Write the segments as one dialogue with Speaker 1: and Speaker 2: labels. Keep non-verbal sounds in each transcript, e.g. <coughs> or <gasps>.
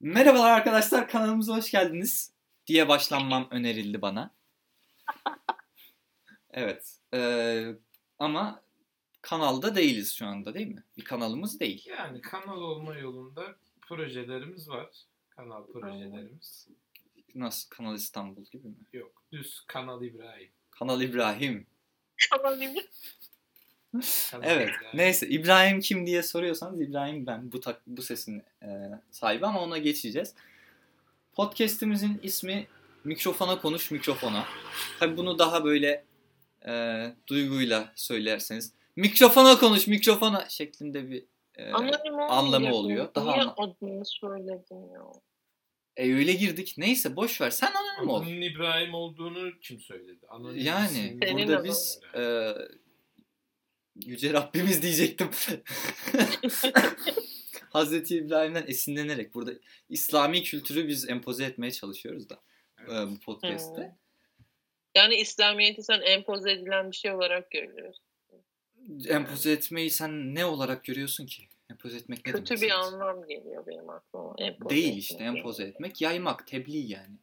Speaker 1: Merhabalar arkadaşlar kanalımıza hoş geldiniz diye başlanmam önerildi bana. Evet. eee, ama kanalda değiliz şu anda değil mi? Bir kanalımız değil.
Speaker 2: Yani kanal olma yolunda projelerimiz var. Kanal projelerimiz.
Speaker 1: Nasıl Kanal İstanbul gibi mi?
Speaker 2: Yok. Düz Kanal İbrahim.
Speaker 1: Kanal İbrahim.
Speaker 3: Olabilir.
Speaker 2: Kanal
Speaker 1: Evet.
Speaker 2: İbrahim.
Speaker 1: Neyse İbrahim kim diye soruyorsanız İbrahim ben bu tak- bu sesin e, sahibi ama ona geçeceğiz. Podcast'imizin ismi Mikrofona Konuş Mikrofona. Tabii bunu daha böyle e, duyguyla söylerseniz Mikrofona Konuş Mikrofona şeklinde bir e,
Speaker 3: Anonim olmuyor.
Speaker 1: anlamı oluyor. Daha
Speaker 3: Niye
Speaker 1: ana-
Speaker 3: adını söyledin ya?
Speaker 1: e, öyle girdik. Neyse boş ver. Sen anonim ol.
Speaker 2: Anonim İbrahim olduğunu kim söyledi? Anonim
Speaker 1: Yani
Speaker 2: isim-
Speaker 3: Senin
Speaker 1: burada
Speaker 3: adın.
Speaker 1: biz e, Yüce Rabbimiz
Speaker 3: <laughs>
Speaker 1: diyecektim. <laughs> Hazreti İbrahim'den esinlenerek burada İslami kültürü biz empoze etmeye çalışıyoruz da
Speaker 2: Evet.
Speaker 1: e, bu podcast'te.
Speaker 3: Hmm. Yani İslamiyet'i sen empoze edilen bir şey olarak görüyorsun.
Speaker 1: Empoze etmeyi sen ne olarak görüyorsun ki? Empoze etmek ne
Speaker 3: Kötü
Speaker 1: demek
Speaker 3: bir
Speaker 1: sana?
Speaker 3: anlam geliyor benim aklıma. Empoze
Speaker 1: Değil
Speaker 3: etmek
Speaker 1: işte
Speaker 3: yani.
Speaker 1: empoze etmek. Yaymak, tebliğ yani.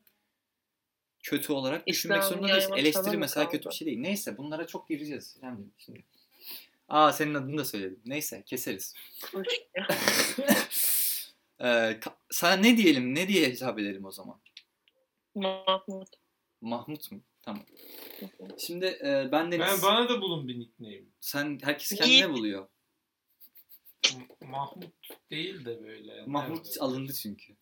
Speaker 1: Kötü olarak düşünmek
Speaker 3: İslam'ı
Speaker 1: zorunda değiliz.
Speaker 3: yaymak sana
Speaker 1: Eleştiri
Speaker 3: mı
Speaker 1: mesela
Speaker 3: kaldı?
Speaker 1: kötü bir şey değil. Neyse bunlara çok gireceğiz. Yani şimdi. Aa senin adını da söyledim. Neyse
Speaker 3: <laughs>
Speaker 1: keseriz.
Speaker 3: Kuş-
Speaker 1: Ee, ka- sana ne diyelim? Ne diye hitap edelim o zaman?
Speaker 3: Mahmut.
Speaker 1: Mahmut mu? Tamam. Şimdi e, ben
Speaker 2: Ben,
Speaker 1: Deniz.
Speaker 2: bana da bulun bir nickname.
Speaker 1: Sen herkes
Speaker 3: Yiğit.
Speaker 1: kendine buluyor.
Speaker 2: M- Mahmut değil de böyle.
Speaker 1: Mahmut
Speaker 2: Nerede?
Speaker 1: alındı çünkü.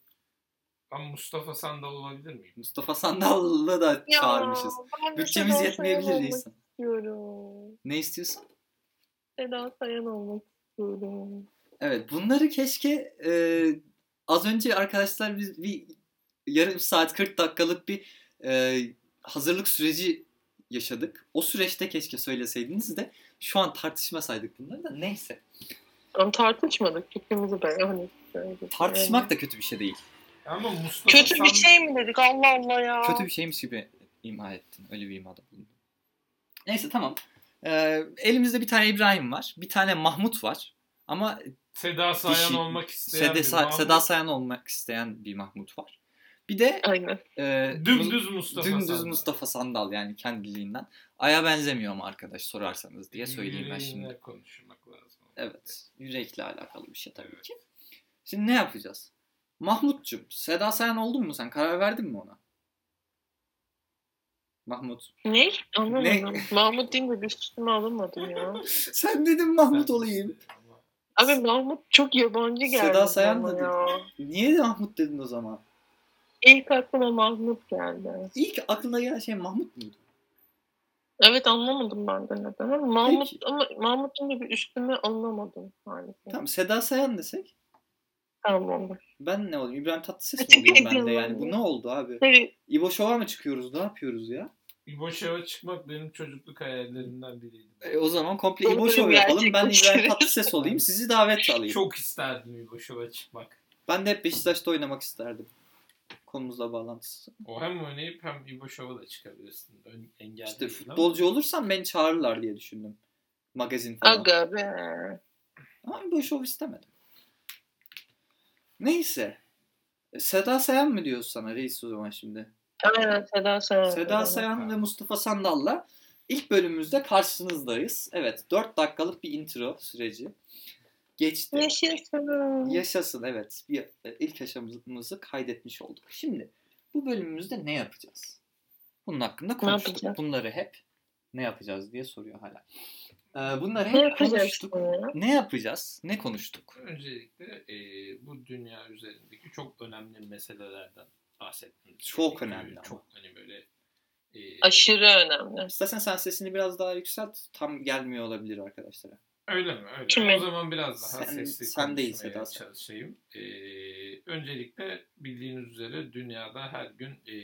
Speaker 2: Ben Mustafa Sandal olabilir miyim?
Speaker 1: Mustafa Sandal'la da
Speaker 3: Ya,
Speaker 1: çağırmışız.
Speaker 3: ben de
Speaker 1: Bütçemiz
Speaker 3: Seda
Speaker 1: yetmeyebilir
Speaker 3: Sayan olmak
Speaker 1: reis.
Speaker 3: istiyorum.
Speaker 1: Ne istiyorsun?
Speaker 3: Seda Sayan olmak istiyorum.
Speaker 1: Evet bunları keşke e, az önce arkadaşlar biz bir yarım saat 40 dakikalık bir e, hazırlık süreci yaşadık. O süreçte keşke söyleseydiniz de şu an tartışmasaydık bunları da neyse.
Speaker 3: Ama tartışmadık. Fikrimizi beğendik. Söyledik.
Speaker 1: Tartışmak da kötü bir şey değil.
Speaker 2: Ama Mustafa
Speaker 3: Kötü bir
Speaker 2: Sandal-
Speaker 3: şey mi dedik? Allah Allah ya.
Speaker 1: kötü bir şeymiş gibi ima ettin. Öyle bir imada bulundun. Neyse tamam. Ee, elimizde bir tane İbrahim var. Bir tane Mahmut var. Ama
Speaker 2: Seda Sayan
Speaker 1: Dişi-
Speaker 2: olmak isteyen
Speaker 1: şey- Seda,
Speaker 2: bir
Speaker 1: Sa-
Speaker 2: Mahmut.
Speaker 1: Seda Sayan olmak isteyen bir Mahmut var. Bir de
Speaker 3: Aynen.
Speaker 1: e,
Speaker 2: Dümdüz Mustafa
Speaker 1: dümdüz
Speaker 2: Sandal.
Speaker 1: Mustafa Sandal yani kendiliğinden. Aya benzemiyor mu arkadaş sorarsanız diye söyleyeyim ben şimdi.
Speaker 2: Yüreğinle konuşmak lazım.
Speaker 1: Evet. Yürekle alakalı bir şey tabii ki. Şimdi ne yapacağız? Mahmut'cum Seda Sayan oldun mu sen? Karar verdin mi ona? Mahmut.
Speaker 3: Ne? Anlamadım. Mahmut deyince bir üstüme
Speaker 1: <laughs>
Speaker 3: alamadım ya.
Speaker 1: <laughs> Sen dedin Mahmut olayım.
Speaker 2: Ama
Speaker 3: Abi Mahmut çok yabancı geldi.
Speaker 1: Seda Sayan
Speaker 3: bana
Speaker 1: da
Speaker 3: ya.
Speaker 1: Niye de Mahmut dedin o zaman?
Speaker 3: İlk aklıma Mahmut geldi.
Speaker 1: İlk aklına gelen şey Mahmut muydu?
Speaker 3: Evet anlamadım ben de neden. Ama Mahmut
Speaker 1: Peki.
Speaker 3: ama Mahmut'un da bir üstüme alınamadım maalesef.
Speaker 1: Tamam Seda Sayan desek.
Speaker 3: Tamam. oldu.
Speaker 1: Ben ne olayım? İbrahim Tatlıses mi
Speaker 3: Açık
Speaker 1: olayım ben de
Speaker 3: ediyorum
Speaker 1: yani?
Speaker 3: ben
Speaker 1: Bu
Speaker 3: de.
Speaker 1: ne oldu abi?
Speaker 3: Tabii
Speaker 1: İbo Şov'a mı çıkıyoruz? Ne yapıyoruz ya?
Speaker 2: İboşev'e çıkmak benim çocukluk hayallerimden biriydi.
Speaker 1: E, o zaman komple İbo
Speaker 3: Doğru,
Speaker 1: Şov yapalım. Ben
Speaker 3: gerçekten
Speaker 1: İbrahim Tatlıses olayım. Sizi davet alayım.
Speaker 2: Çok isterdim İboşev'e çıkmak.
Speaker 1: Ben de hep Beşiktaş'ta oynamak isterdim. Konumuzla bağlantısı.
Speaker 2: O hem oynayıp hem İboşev'e da çıkabilirsin. Ön, engel
Speaker 1: İşte
Speaker 2: değil ama.
Speaker 1: futbolcu olursam beni çağırırlar diye düşündüm. Magazin falan.
Speaker 3: aga be.
Speaker 1: Ama İbo Şov istemedim. Neyse. E, Seda Sayan mı diyoruz sana reis o zaman şimdi?
Speaker 3: Aynen Seda Sayan.
Speaker 1: Seda Sayan ve Mustafa Sandal'la ilk bölümümüzde karşınızdayız. Evet 4 dakikalık bir intro süreci geçti.
Speaker 3: Yaşasın.
Speaker 1: Yaşasın evet. Bir, e, ilk aşamamızı kaydetmiş olduk. Şimdi bu bölümümüzde ne yapacağız? Bunun hakkında konuştuk.
Speaker 3: yapacağız?
Speaker 1: Bunları hep ne yapacağız diye soruyor hala. Ee, bunları
Speaker 3: Ne
Speaker 1: hep
Speaker 3: yapacaksın
Speaker 1: konuştuk.
Speaker 3: ya?
Speaker 1: Ne yapacağız? Ne konuştuk?
Speaker 2: Öncelikle e, bu dünya üzerindeki çok önemli meselelerden bahsetmemiz
Speaker 1: Çok
Speaker 2: gerekiyor.
Speaker 1: önemli ama.
Speaker 2: Çok hani böyle e,
Speaker 3: Aşırı önemli.
Speaker 1: İstersen sen sesini biraz daha yükselt. Tam gelmiyor olabilir arkadaşlara.
Speaker 2: Öyle mi? Öyle.
Speaker 3: Kimi?
Speaker 2: O zaman biraz daha
Speaker 1: Sen-
Speaker 2: sesli
Speaker 1: sen değil
Speaker 2: konuşmaya
Speaker 1: Seda sen.
Speaker 2: çalışayım. Ee, öncelikle bildiğiniz üzere dünyada her gün e,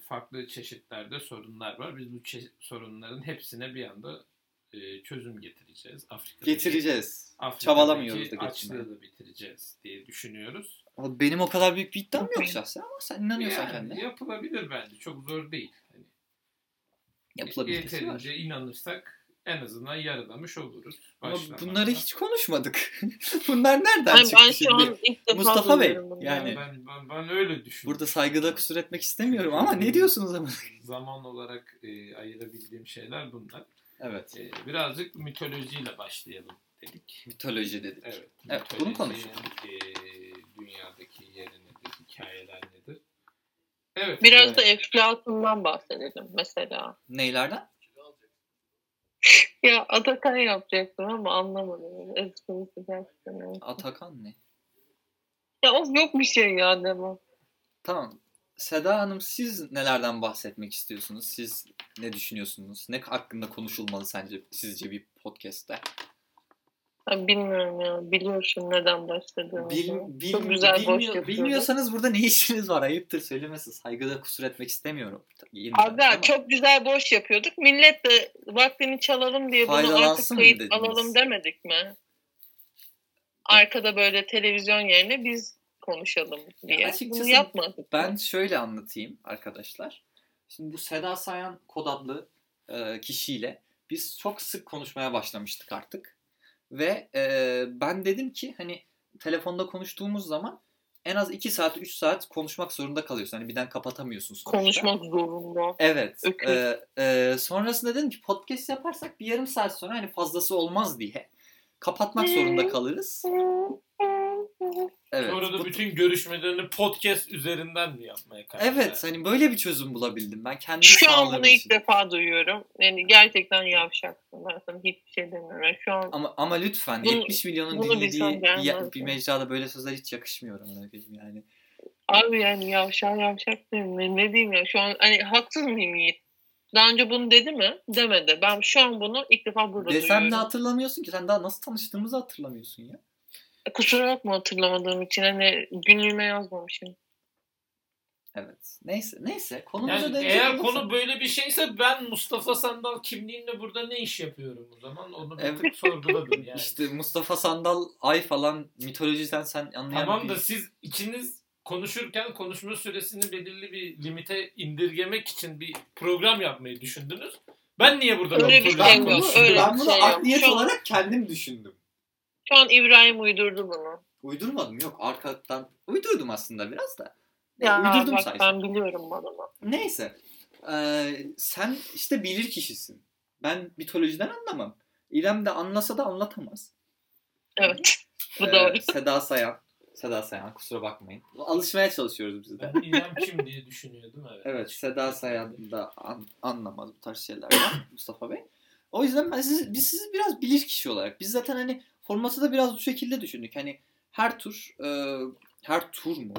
Speaker 2: farklı çeşitlerde sorunlar var. Biz bu çe- sorunların hepsine bir anda e, çözüm getireceğiz. Afrika'daki,
Speaker 1: Getireceğiz.
Speaker 2: Afrika'daki
Speaker 1: Çabalamıyoruz da getirmeye.
Speaker 2: açlığı da bitireceğiz diye düşünüyoruz.
Speaker 1: Ama Benim o kadar büyük bir iddiam yok şahsen ama sen inanıyorsan
Speaker 2: Yani
Speaker 1: kendine.
Speaker 2: yapılabilir bence. Çok zor değil. Hani
Speaker 1: Yapılabilitesi var.
Speaker 2: Yeterince inanırsak en azından yarılamış oluruz.
Speaker 1: Ama
Speaker 2: başlamadan.
Speaker 1: bunları hiç konuşmadık. <laughs> Bunlar nereden
Speaker 3: Yani
Speaker 1: çıktı
Speaker 3: ben
Speaker 1: şimdi?
Speaker 3: şu an ilk defa
Speaker 1: Mustafa Bey,
Speaker 3: duyuyorum bunu.
Speaker 1: yani-
Speaker 2: ben, ben, ben öyle düşünüyorum.
Speaker 1: Burada saygıda kusur etmek istemiyorum ama ne diyorsunuz ama?
Speaker 2: Zaman olarak e, ayırabildiğim şeyler bunlar.
Speaker 1: evet.
Speaker 2: E, birazcık mitolojiyle başlayalım dedik.
Speaker 1: Mitoloji dedik.
Speaker 2: Evet.
Speaker 1: Evet, bunu konuşalım.
Speaker 2: mitolojinin, e, dünyadaki yeri nedir, hikayeler nedir? Evet.
Speaker 3: Biraz
Speaker 1: Evet.
Speaker 3: da Eflatun'dan bahsedelim mesela.
Speaker 1: Neylerden?
Speaker 3: Ya Atakan yapacaktım ama anlamadım. Esprisi gerçekten. oldu.
Speaker 1: Atakan ne?
Speaker 3: Ya o yok bir şey ya demo.
Speaker 1: Tamam. Seda Hanım siz nelerden bahsetmek istiyorsunuz? Siz ne düşünüyorsunuz? Ne hakkında konuşulmalı sence sizce bir podcast'te?
Speaker 3: Ya bilmiyorum ya. Biliyorsun neden başladığımı.
Speaker 1: Bil, bil-
Speaker 3: Çok güzel boş
Speaker 1: bilmiyor-
Speaker 3: yapıyoruz.
Speaker 1: bilmiyorsanız burada ne işiniz var? Ayıptır söylemesi. Saygıda kusur etmek istemiyorum. Yeniden
Speaker 3: Aga
Speaker 1: ama
Speaker 3: çok güzel boş yapıyorduk. Millet de vaktini çalalım diye bunu artık
Speaker 1: Faydalansın mı
Speaker 3: kayıt
Speaker 1: dediniz?
Speaker 3: alalım demedik mi? Arkada böyle televizyon yerine biz konuşalım diye.
Speaker 1: Ya açıkçası
Speaker 3: bunu yapmadık.
Speaker 1: Ben şöyle anlatayım arkadaşlar. Şimdi bu Seda Sayan kod adlı e, kişiyle biz çok sık konuşmaya başlamıştık artık. Ve e, ben dedim ki hani telefonda konuştuğumuz zaman en az 2 saat 3 saat konuşmak zorunda kalıyorsun. Hani birden kapatamıyorsun sonuçta.
Speaker 3: konuşmak zorunda.
Speaker 1: Evet.
Speaker 3: Öküz.
Speaker 1: Ee, e, sonrasında dedim ki podcast yaparsak bir yarım saat sonra hani fazlası olmaz diye kapatmak
Speaker 3: Hı.
Speaker 1: zorunda kalırız. Evet.
Speaker 2: Sonra da
Speaker 1: Bu-
Speaker 2: bütün görüşmelerini podcast üzerinden mi yapmaya karar
Speaker 1: Evet,
Speaker 2: verdin?
Speaker 1: hani böyle bir çözüm bulabildim ben kendi
Speaker 3: Şu an
Speaker 1: sağlığım
Speaker 3: bunu
Speaker 1: için.
Speaker 3: ilk defa duyuyorum. Yani gerçekten yavşaksın. Ben sana hiçbir şey demiyorum. Yani şu an
Speaker 1: Ama ama lütfen
Speaker 3: Bunu-
Speaker 1: 70 milyonun
Speaker 3: bunu
Speaker 1: dinlediği
Speaker 3: bilsem
Speaker 1: bir,
Speaker 3: gelmezdi.
Speaker 1: bir mecrada böyle sözler hiç yakışmıyor amına koyayım yani.
Speaker 3: Abi yani yavşak yavşak diyeyim ne, ne diyeyim ya şu an hani haksız mıyım Yiğit? Daha önce bunu dedi mi? Demedi. Ben şu an bunu ilk defa burada
Speaker 1: Desem de
Speaker 3: duyuyorum.
Speaker 1: hatırlamıyorsun ki sen daha nasıl tanıştığımızı hatırlamıyorsun ya.
Speaker 3: Kusura bakma hatırlamadığım için hani günlüğüme yazmamışım.
Speaker 1: Evet. Neyse neyse konumuza
Speaker 2: Yani
Speaker 1: dönecek
Speaker 2: eğer
Speaker 1: olursak-
Speaker 2: konu böyle bir şeyse ben Mustafa Sandal kimliğimle burada ne iş yapıyorum o zaman onu bir
Speaker 1: Evet.
Speaker 2: tık sorguladım
Speaker 1: <laughs>
Speaker 2: yani.
Speaker 1: işte Mustafa Sandal ay falan mitolojiden sen anlayan
Speaker 2: Tamam
Speaker 1: bir-
Speaker 2: da siz ikiniz konuşurken konuşma süresini belirli bir limite indirgemek için bir program yapmayı düşündünüz. Ben niye burada
Speaker 3: Öyle bir
Speaker 2: kontrol
Speaker 3: şey
Speaker 1: bunu-
Speaker 3: yok,
Speaker 2: konuşuyorum?
Speaker 3: öyle
Speaker 1: ben
Speaker 3: bir
Speaker 1: bunu
Speaker 3: şey
Speaker 1: art
Speaker 3: yok.
Speaker 1: niyet
Speaker 3: Şu an-
Speaker 1: olarak kendim düşündüm.
Speaker 3: Şu an İbrahim uydurdu bunu.
Speaker 1: Uydurmadım yok arkadan uydurdum aslında biraz da.
Speaker 3: Ya
Speaker 1: uydurdum
Speaker 3: bak
Speaker 1: sayesinde.
Speaker 3: ben biliyorum bunu. ama.
Speaker 1: Neyse. Ee, sen işte bilir kişisin. Ben mitolojiden anlamam. İrem de anlasa da anlatamaz. <laughs>
Speaker 3: Evet. Bu
Speaker 1: Ee,
Speaker 3: doğru.
Speaker 1: Seda Sayan. Seda Sayan kusura bakmayın. Alışmaya çalışıyoruz biz de.
Speaker 2: Ben İrem kim diye düşünüyordum evet.
Speaker 1: Evet Seda Sayan da an- anlamaz bu tarz şeylerden <coughs> Mustafa Bey. O yüzden ben sizi, biz sizi biraz bilir kişi olarak. Biz zaten hani formatı da biraz bu şekilde düşündük. Hani her tur e, her tur mu?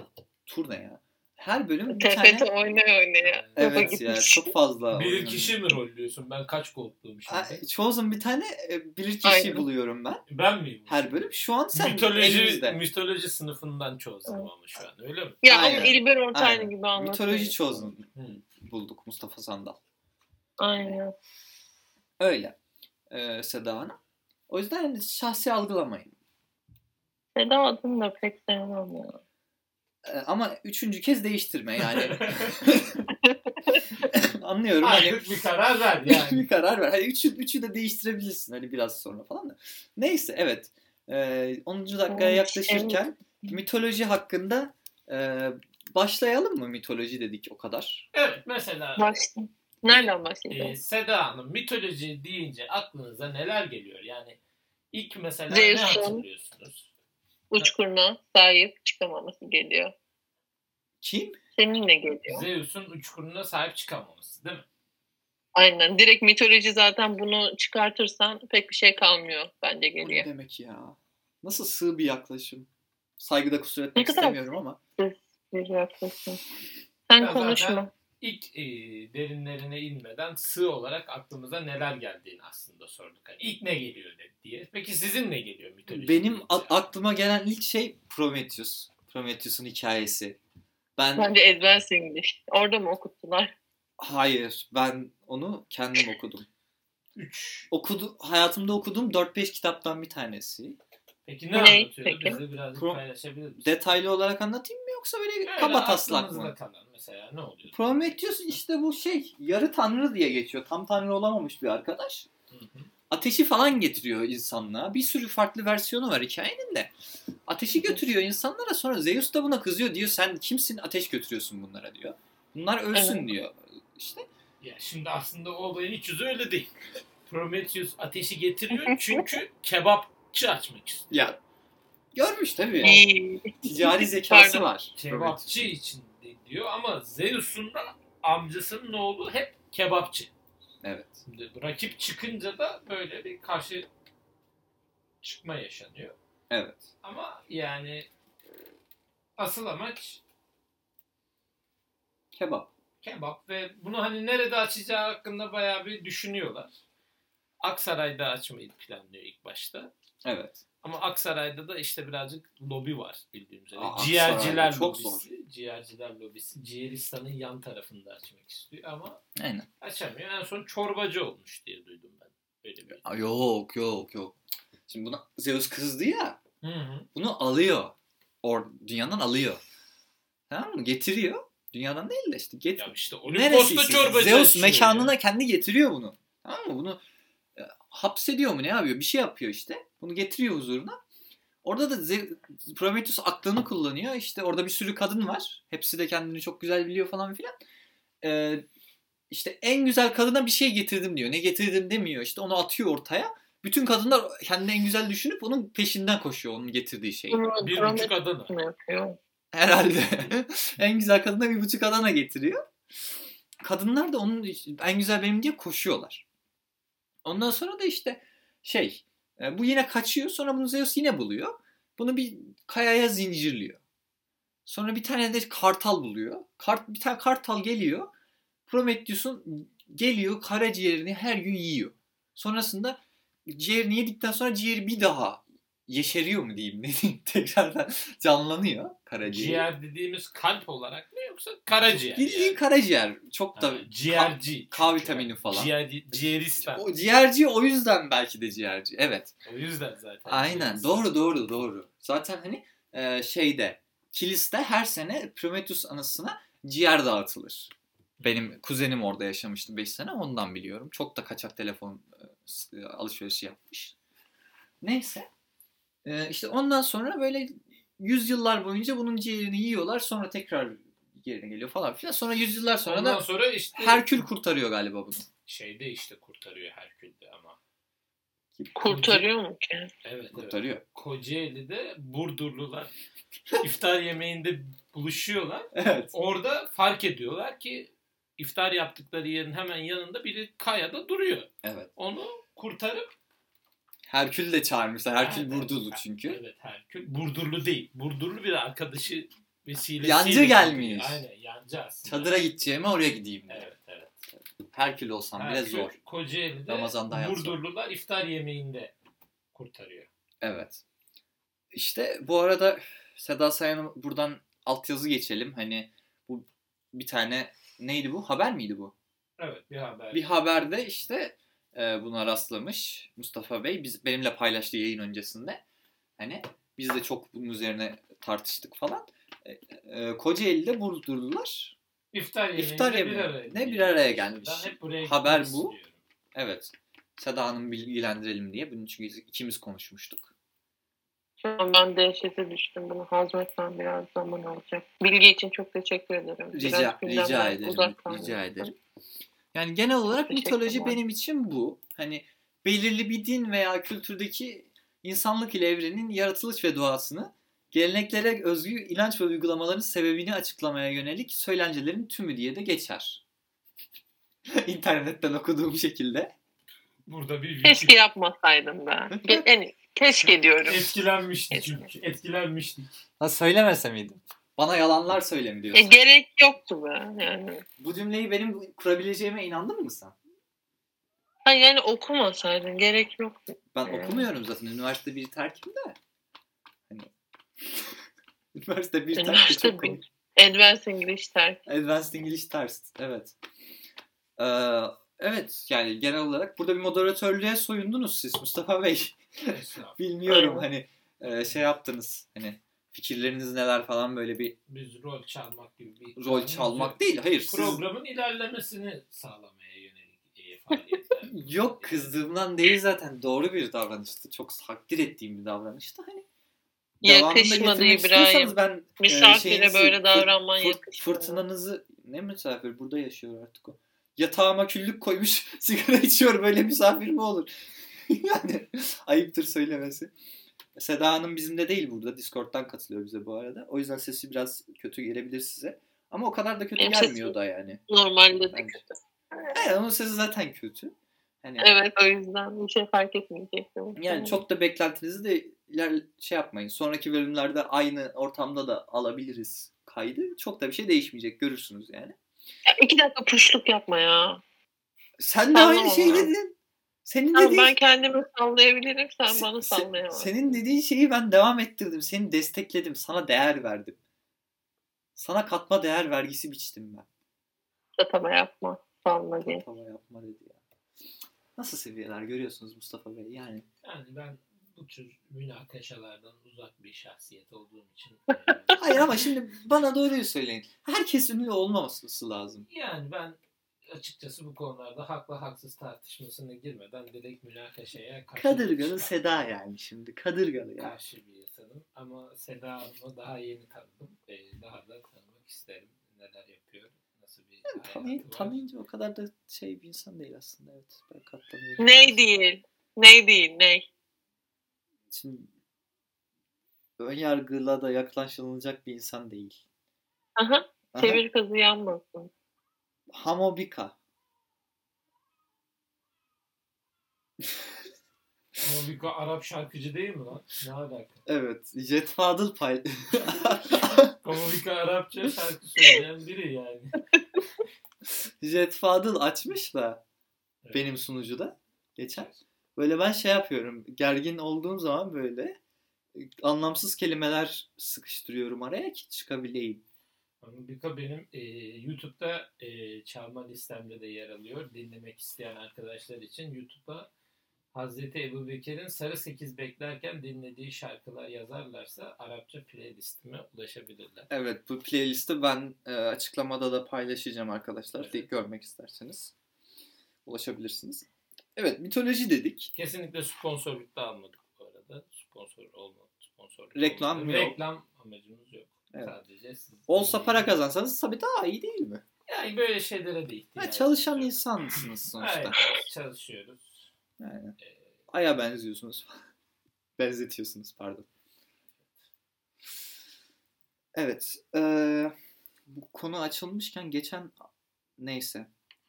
Speaker 1: Tur ne ya? Her bölüm bir
Speaker 3: TFT
Speaker 1: tane...
Speaker 3: oynaya oynaya. Topa
Speaker 1: Evet ya
Speaker 3: gitmiş.
Speaker 1: çok fazla.
Speaker 2: Bilir
Speaker 1: oynanıyor.
Speaker 2: kişi mi rollüyorsun? Ben kaç koltuğum şimdi?
Speaker 1: A- Çoğu zaman bir tane e, bilir kişi
Speaker 3: Aynen.
Speaker 1: buluyorum ben
Speaker 2: Ben miyim?
Speaker 1: her bölüm. Şu an sen
Speaker 2: mitoloji,
Speaker 1: elimizde.
Speaker 2: mitoloji sınıfından çözdüm ama şu an öyle mi?
Speaker 3: Ya ama
Speaker 1: Aynen.
Speaker 3: İlber Ortaylı
Speaker 1: Aynen.
Speaker 3: gibi anlatıyor.
Speaker 1: Mitoloji çözüm
Speaker 2: Hı.
Speaker 1: bulduk Mustafa Sandal.
Speaker 3: Aynen.
Speaker 1: Öyle e, Seda Hanım. O yüzden hani şahsi algılamayın.
Speaker 3: Seda adını da pek sevmem ya.
Speaker 1: E, ama üçüncü kez değiştirme yani. <laughs> Anlıyorum hani.
Speaker 2: Artık bir karar ver
Speaker 1: <laughs>
Speaker 2: yani.
Speaker 1: bir karar ver. Hani üçü, üçü de değiştirebilirsin hani biraz sonra falan da. Neyse evet. E, 10. dakikaya
Speaker 3: Evet,
Speaker 1: yaklaşırken mitoloji hakkında e, başlayalım mı mitoloji dedik o kadar.
Speaker 2: evet mesela
Speaker 3: Başla. Nereden
Speaker 2: e,
Speaker 1: Ee,
Speaker 3: başlayacağız?
Speaker 2: Seda Hanım mitoloji deyince aklınıza neler geliyor? Yani ilk mesela ne
Speaker 3: Zeus'un-
Speaker 2: hatırlıyorsunuz?
Speaker 3: Uçkuruna sahip çıkamaması geliyor.
Speaker 1: Kim?
Speaker 3: Seninle geliyor.
Speaker 2: Zeus'un uçkuruna sahip çıkamaması değil mi?
Speaker 3: Aynen. Direkt mitoloji zaten bunu çıkartırsan pek bir şey kalmıyor bence
Speaker 1: Bu ne
Speaker 3: geriye.
Speaker 1: demek ya? Nasıl sığ bir yaklaşım? Saygıda kusur
Speaker 3: Ne
Speaker 1: etmek
Speaker 3: kadar-
Speaker 1: istemiyorum ama.
Speaker 3: Bir yaklaşım. Sen
Speaker 2: Ya
Speaker 3: konuşma.
Speaker 2: zaten- İlk e, derinlerine inmeden sığ olarak aklımıza neler geldiğini aslında sorduk. Hani ilk ne geliyor de- diye. Peki sizin ne geliyor mitoloji?
Speaker 1: Benim a-
Speaker 2: deyince?
Speaker 1: aklıma gelen ilk şey Prometheus. Prometheus'un hikayesi. Ben
Speaker 3: Bence Advanced English. Orada mı okuttular?
Speaker 1: hayır, ben onu kendim okudum.
Speaker 2: Üç.
Speaker 1: Okudu hayatımda okuduğum 4-5 kitaptan bir tanesi.
Speaker 2: Peki
Speaker 3: Ne?
Speaker 2: ne, anlatıyordu?
Speaker 3: Peki.
Speaker 2: Bizi birazcık
Speaker 1: Pro-
Speaker 2: paylaşabilir misin?
Speaker 1: Detaylı olarak anlatayım mı yoksa böyle
Speaker 2: Öyle
Speaker 1: kaba taslak
Speaker 2: aklınızda
Speaker 1: mı?
Speaker 2: kalan mesela ne oluyor?
Speaker 1: Prometheus işte bu şey yarı tanrı diye geçiyor. Tam tanrı olamamış bir arkadaş.
Speaker 2: Hı hı.
Speaker 1: ateşi falan getiriyor insanlığa. Bir sürü farklı versiyonu var hikayenin de. Ateşi götürüyor insanlara sonra Zeus da buna kızıyor diyor sen kimsin ateş götürüyorsun bunlara diyor. Bunlar ölsün
Speaker 3: Evet.
Speaker 1: diyor. İşte
Speaker 2: Ya şimdi aslında o olayın iç yüzü öyle değil. Prometheus ateşi getiriyor çünkü kebapçı açmak istiyor.
Speaker 1: ya görmüş tabii.
Speaker 3: İyi.
Speaker 1: Ticari zekası
Speaker 3: Pardon.
Speaker 1: var.
Speaker 2: Kebapçı için de diyor ama Zeus'un da amcasının oğlu hep kebapçı.
Speaker 1: Evet.
Speaker 2: Şimdi rakip çıkınca da böyle bir karşı çıkma yaşanıyor.
Speaker 1: Evet.
Speaker 2: Ama yani e, asıl amaç
Speaker 1: Kebap.
Speaker 2: kebap ve bunu hani nerede açacağı hakkında bayağı bir düşünüyorlar. Aksaray'da açmayı planlıyor ilk başta.
Speaker 1: Evet.
Speaker 2: Ama Aksaray'da da işte birazcık lobi var bildiğim üzere.
Speaker 1: Aa,
Speaker 2: ciğerciler
Speaker 1: Aksaray'da çok
Speaker 2: lobisi. Ciğerciler lobisi. Ciğeristan'ın yan tarafında açmak istiyor ama
Speaker 1: Aynen.
Speaker 2: açamıyor. En son çorbacı olmuş diye duydum ben. Öyle bir.
Speaker 1: Aa, Yok yok yok. Şimdi buna Zeus kızdı ya.
Speaker 2: Hı hı.
Speaker 1: bunu alıyor. Or dünyadan alıyor. Tamam mı? Getiriyor. Dünyadan değil de işte get.
Speaker 2: Ya işte
Speaker 1: Neresi?
Speaker 2: Olimpos'ta
Speaker 1: ise
Speaker 2: çorbacı
Speaker 1: Zeus
Speaker 2: açıyor
Speaker 1: mekanına
Speaker 2: ya.
Speaker 1: kendi getiriyor bunu. Tamam mı? Bunu e, hapsediyor mu ne yapıyor? Bir şey yapıyor işte. Bunu getiriyor huzuruna. Orada da Ze- Prometheus aklını kullanıyor. İşte orada bir sürü kadın var. Hepsi de kendini çok güzel biliyor falan filan. Ee, işte en güzel kadına bir şey getirdim diyor. Ne getirdim demiyor. İşte onu atıyor ortaya. Bütün kadınlar kendini en güzel düşünüp onun peşinden koşuyor onun getirdiği şeyi.
Speaker 3: Bunu
Speaker 2: Bir
Speaker 3: Prometheus
Speaker 2: buçuk Adana.
Speaker 3: mu yapıyor?
Speaker 1: Herhalde. <laughs> en güzel kadına bir buçuk Adana getiriyor. Kadınlar da onun en güzel benim diye koşuyorlar. Ondan sonra da işte şey e, bu yine kaçıyor sonra bunu Zeus yine buluyor. Bunu bir kayaya zincirliyor. Sonra bir tane de kartal buluyor. Kart, bir tane kartal geliyor. Prometheus'un geliyor karaciğerini her gün yiyor. Sonrasında ciğerini yedikten sonra ciğeri bir daha yeşeriyor mu diyeyim ne diyeyim <laughs> tekrardan canlanıyor karaciğer.
Speaker 2: Ciğer dediğimiz kalp olarak mı yoksa karaciğer?
Speaker 1: Bildiğin
Speaker 2: yani?
Speaker 1: karaciğer. Çok da
Speaker 2: Ha, ciğerci.
Speaker 1: K vitamini falan.
Speaker 2: Ciğer, ciğeristan.
Speaker 1: o ciğerci o yüzden belki de ciğerci. Evet.
Speaker 2: O yüzden zaten.
Speaker 1: Aynen.
Speaker 2: ciğeristan.
Speaker 1: Doğru doğru doğru. Zaten hani e, şeyde kiliste her sene Prometheus anısına ciğer dağıtılır. Benim kuzenim orada yaşamıştı 5 sene ondan biliyorum. Çok da kaçak telefon e, s- e, alışverişi yapmış. Neyse. E, işte ondan sonra böyle yüzyıllar boyunca bunun ciğerini yiyorlar. Sonra tekrar ciğerine geliyor falan filan. Sonra yüzyıllar sonra
Speaker 2: Ondan
Speaker 1: da
Speaker 2: sonra işte
Speaker 1: Herkül kurtarıyor galiba bunu.
Speaker 2: şeyde işte kurtarıyor Herkül'de ama.
Speaker 3: Kurtarıyor mu ki?
Speaker 2: Evet, evet. <laughs>
Speaker 1: Kurtarıyor.
Speaker 2: Kocaeli'de Burdurlular <laughs> iftar yemeğinde buluşuyorlar.
Speaker 1: Evet.
Speaker 2: Orada fark ediyorlar ki iftar yaptıkları yerin hemen yanında biri kayada duruyor.
Speaker 1: Evet.
Speaker 2: Onu kurtarıp
Speaker 1: Herkül de çağırmışlar. Herkül
Speaker 2: Aynen.
Speaker 1: Burdulu çünkü.
Speaker 2: Evet Herkül. Burdurlu değil. Burdurlu bir arkadaşı vesilesiyle.
Speaker 1: Yancı gelmiş.
Speaker 2: Aynen yancı aslında.
Speaker 1: Çadıra gideceğime oraya gideyim diyor.
Speaker 2: Evet evet.
Speaker 1: Herkül olsam bile
Speaker 2: Herkül,
Speaker 1: zor.
Speaker 2: Kocaeli'de
Speaker 1: Ramazan'da hayat zor.
Speaker 2: Burdurlular iftar yemeğinde kurtarıyor.
Speaker 1: Evet. İşte bu arada Seda Sayan'a buradan altyazı geçelim. Hani bu bir tane neydi bu? Haber miydi bu?
Speaker 2: Evet bir haber.
Speaker 1: Bir haberde işte e, buna rastlamış Mustafa Bey. Biz benimle paylaştığı yayın öncesinde. Hani biz de çok bunun üzerine tartıştık falan. E, e, Kocaeli'de Burdurlular
Speaker 2: İftar yemeğinde
Speaker 1: İftar
Speaker 2: bir
Speaker 1: yemeği.
Speaker 2: araya
Speaker 1: Ne bir
Speaker 2: geliyor.
Speaker 1: araya gelmiş.
Speaker 2: Ben hep buraya
Speaker 1: Haber
Speaker 2: gitmek
Speaker 1: bu.
Speaker 2: istiyorum.
Speaker 1: Evet. Seda Hanım bilgilendirelim diye. Bunun çünkü ikimiz konuşmuştuk.
Speaker 3: Şu an ben dehşete düştüm. Bunu hazmetmem biraz zaman alacak. Bilgi için çok teşekkür ederim. Biraz
Speaker 1: Rica,
Speaker 3: gündemden
Speaker 1: rica ederim.
Speaker 3: uzak kaldım.
Speaker 1: Rica ederim. Yani genel olarak
Speaker 3: Teşekkür
Speaker 1: mitoloji
Speaker 3: ederim.
Speaker 1: benim için bu. Hani belirli bir din veya kültürdeki insanlık ile evrenin yaratılış ve doğasını geleneklere özgü inanç ve uygulamaların sebebini açıklamaya yönelik söylencelerin tümü diye de geçer. <laughs> İnternetten okuduğum şekilde.
Speaker 2: Burada bir
Speaker 3: Keşke yapmasaydım ben.
Speaker 1: <laughs>
Speaker 3: Yani keşke diyorum.
Speaker 2: Etkilenmişti çünkü.
Speaker 4: <laughs>
Speaker 2: Etkilenmişti.
Speaker 1: Ha söylemese miydim? Bana yalanlar söyle mi
Speaker 3: E,
Speaker 1: diyorsun?
Speaker 3: gerek yoktu be. Yani.
Speaker 1: Bu cümleyi benim kurabileceğime inandın mı sen?
Speaker 3: Ha, yani okumasaydın gerek yoktu.
Speaker 1: Ben
Speaker 3: Hmm.
Speaker 1: okumuyorum zaten. Üniversite bir terkim de. Hani... <laughs> Üniversite bir terk de
Speaker 3: Üniversite
Speaker 1: çok
Speaker 3: bir.
Speaker 1: komik.
Speaker 3: Advanced English terk.
Speaker 1: Advanced English ters. Evet. Ee, evet yani genel olarak burada bir moderatörlüğe soyundunuz siz Mustafa Bey. <laughs> Bilmiyorum hani e, şey yaptınız hani fikirleriniz neler falan böyle bir
Speaker 2: Biz rol çalmak gibi bir...
Speaker 1: rol çalmak değil. Hayır siz
Speaker 2: Programın ilerlemesini sağlamaya yönelik e,
Speaker 4: faaliyetler.
Speaker 1: <laughs> Yok kızdığımdan değil zaten doğru bir davranıştı. Çok takdir ettiğim bir davranıştı. Hani
Speaker 3: Yakışmadı
Speaker 1: getirmek
Speaker 3: İbrahim.
Speaker 1: istiyorsanız ben e,
Speaker 3: Misafire
Speaker 1: şeyinizi,
Speaker 3: böyle
Speaker 1: fır-
Speaker 3: davranman
Speaker 1: fır-
Speaker 3: yakışmadı.
Speaker 1: Fırtınanızı ne misafir burada yaşıyor artık o. Yatağıma küllük koymuş <laughs> sigara içiyor böyle misafir mi olur? <laughs> yani ayıptır söylemesi. Seda Hanım bizimle değil burada. Discord'dan katılıyor bize bu arada. O yüzden sesi biraz kötü gelebilir size. Ama o kadar da kötü
Speaker 3: Benim sesim-
Speaker 1: gelmiyor da yani.
Speaker 3: Normalde de
Speaker 1: Bence.
Speaker 3: kötü.
Speaker 1: Hayır onun sesi zaten kötü. Hani
Speaker 3: Evet o yüzden bir şey fark etmeyecektim.
Speaker 1: Yani çok da beklentinizi de iler- şey yapmayın. Sonraki bölümlerde aynı ortamda da alabiliriz kaydı. Çok da bir şey değişmeyecek görürsünüz yani.
Speaker 3: Ya iki dakika puşluk yapma ya.
Speaker 1: Sen de
Speaker 3: Tamam
Speaker 1: aynı şeyi
Speaker 3: ya.
Speaker 1: dedin. Senin
Speaker 3: Tamam,
Speaker 1: dediğin
Speaker 3: ben kendimi sallayabilirim sen
Speaker 1: Se-
Speaker 3: bana
Speaker 1: se-
Speaker 3: sallayamazsın.
Speaker 1: Senin dediğin şeyi ben devam ettirdim. Seni destekledim. Sana değer verdim. Sana katma değer vergisi biçtim ben.
Speaker 3: Tatama yapma. Salla diye.
Speaker 1: Tatava yapma dedi ya. Nasıl seviyeler görüyorsunuz Mustafa Bey? Yani
Speaker 4: Yani ben bu tür münakaşalardan uzak bir şahsiyet olduğum için e,
Speaker 1: hayır ama şimdi bana doğruyu söyleyin. Herkes ünlü olmaması lazım.
Speaker 4: yani ben açıkçası bu konularda haklı haksız tartışmasına girmeden direkt münakaşaya karşı
Speaker 1: Kadırgalı
Speaker 4: çıkan-
Speaker 1: Seda yani şimdi. Kadırgalı yani.
Speaker 4: karşı bir insanım ama Seda Hanım'ı daha yeni tanıdım. Ee, daha da tanımak isterim. Neler yapıyor, nasıl bir hayatı
Speaker 1: Tanı-
Speaker 4: var.
Speaker 1: tanıyınca o kadar da şey bir insan değil aslında evet. Ben katlanıyorum.
Speaker 3: Ney değil. Ney değil ney.
Speaker 1: Şimdi ön yargıyla da yaklaşılacak bir insan değil.
Speaker 3: Aha,
Speaker 1: Aha.
Speaker 3: çevir kızı yanmasın.
Speaker 1: Hamobika.
Speaker 4: Ama bir Arap şarkıcı değil mi lan? Ne alaka?
Speaker 1: Evet. Jet Fadıl pay... <laughs>
Speaker 4: Komika Arapça şarkı söyleyen biri yani.
Speaker 1: Jet Fadıl açmış da
Speaker 4: Evet.
Speaker 1: <laughs> benim sunucuda geçen. Böyle ben şey yapıyorum. Gergin olduğum zaman böyle e, anlamsız kelimeler sıkıştırıyorum araya ki çıkabileyim.
Speaker 4: Ama Bika benim e, YouTube'da e, çalma listemde de yer alıyor. Dinlemek isteyen arkadaşlar için YouTube'da Hazreti Ebu Bekir'in Sarı Sekiz beklerken dinlediği şarkılar yazarlarsa Arapça playlistime ulaşabilirler.
Speaker 1: Evet bu playlisti ben e, açıklamada da paylaşacağım arkadaşlar.
Speaker 4: Evet.
Speaker 1: De- Görmek isterseniz ulaşabilirsiniz. Evet mitoloji dedik.
Speaker 4: Kesinlikle sponsorluk da almadık bu arada. Sponsor olmadı. Sponsorluk
Speaker 1: Reklam
Speaker 4: olmadı.
Speaker 1: yok.
Speaker 4: Reklam amacımız yok.
Speaker 1: Evet.
Speaker 4: Sadece siz
Speaker 1: Olsa para kazansanız tabii daha iyi değil mi?
Speaker 4: Yani böyle şeylere de
Speaker 1: Ha,
Speaker 4: ihtiyacımız
Speaker 1: çalışan
Speaker 4: yok.
Speaker 1: insansınız sonuçta.
Speaker 4: Aynen çalışıyoruz.
Speaker 1: Aynen.
Speaker 4: Ee,
Speaker 1: Aya benziyorsunuz. <laughs> Benzetiyorsunuz pardon. Evet. eee, bu konu açılmışken geçen neyse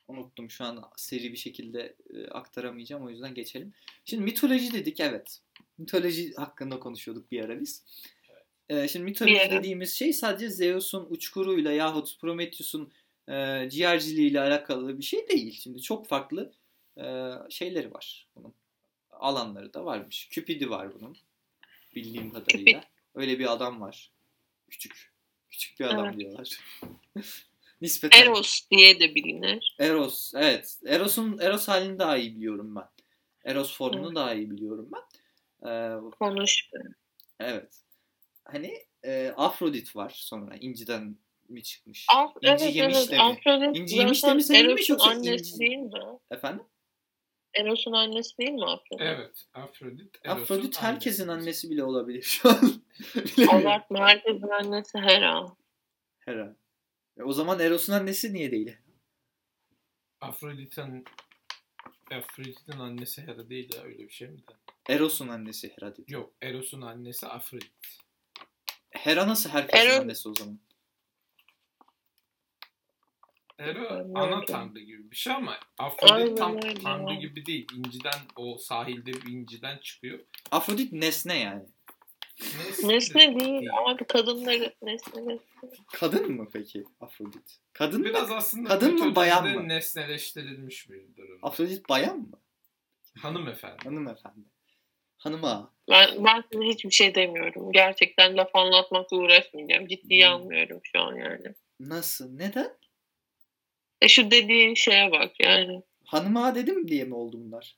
Speaker 1: unuttum şu an seri bir şekilde e, aktaramayacağım o yüzden geçelim. Şimdi mitoloji dedik evet. Mitoloji hakkında konuşuyorduk bir ara biz. Eee, şimdi mitoloji
Speaker 3: Bir ara.
Speaker 1: dediğimiz şey sadece Zeus'un uçkuruyla yahut Prometheus'un e, ciğerciliğiyle alakalı bir şey değil. Şimdi çok farklı e, şeyleri var bunun. Alanları da varmış. Cupid'i var bunun. Bildiğim kadarıyla. Öyle bir adam var. Küçük. Küçük bir adam
Speaker 3: Evet.
Speaker 1: diyorlar. <laughs> Nispeten.
Speaker 3: Eros diye de bilinir.
Speaker 1: Eros. Evet. Eros'un Eros halini daha iyi biliyorum ben. Eros formunu
Speaker 3: Evet.
Speaker 1: daha iyi biliyorum ben. Ee,
Speaker 3: Konuş.
Speaker 1: evet. Hani e, Afrodit var sonra. İnciden mi çıkmış?
Speaker 3: Af,
Speaker 1: İnci
Speaker 3: evet
Speaker 1: yemiş
Speaker 3: evet.
Speaker 1: de mi?
Speaker 3: Afrodit
Speaker 1: İnci yemiş de
Speaker 3: zaten
Speaker 1: mi sevilmiş
Speaker 3: Eros'un
Speaker 1: yoksa
Speaker 3: annesi
Speaker 1: inci-
Speaker 3: değil mi?
Speaker 1: Efendim?
Speaker 3: Eros'un annesi değil mi Afrodit?
Speaker 2: Evet. Afrodit. Eros'un
Speaker 1: Afrodit herkesin
Speaker 2: annesi.
Speaker 1: annesi bile olabilir şu an. <laughs> Bilemiyorum.
Speaker 3: Abartma herkesin annesi Hera.
Speaker 1: Herhalde. E, o zaman Eros'un annesi niye değil?
Speaker 2: Afrodit'in Afrodit'in annesi Hera değil ya öyle bir şey mi de?
Speaker 1: Eros'un annesi Hera dedi.
Speaker 2: Yok Eros'un annesi Afrodit.
Speaker 1: Hera nasıl herkesin
Speaker 3: Eros-
Speaker 1: annesi o zaman?
Speaker 2: Hera
Speaker 3: Aynen
Speaker 2: ana
Speaker 3: öyle.
Speaker 2: tanrı gibi bir şey ama Afrodit tam
Speaker 3: Aynen öyle.
Speaker 2: tanrı gibi değil. İnciden o sahilde bir inciden çıkıyor.
Speaker 1: Afrodit nesne yani.
Speaker 3: Nesne değil abi kadınları nesne nesne.
Speaker 1: Kadın mı peki Afrodit? Kadın mı?
Speaker 2: Biraz aslında
Speaker 1: Kadın mı,
Speaker 2: mitolojide
Speaker 1: bayan mı?
Speaker 2: nesneleştirilmiş bir durum.
Speaker 1: Afrodit bayan mı?
Speaker 2: Hanımefendi.
Speaker 1: Hanımefendi. Hanıma.
Speaker 3: Ben, ben size hiçbir şey demiyorum. Gerçekten laf anlatmakla uğraşmayacağım. Ciddiye
Speaker 1: Hmm.
Speaker 3: almıyorum şu an yani.
Speaker 1: Nasıl? Neden?
Speaker 3: E şu dediğin şeye bak yani.
Speaker 1: Hanıma dedim diye mi oldu bunlar?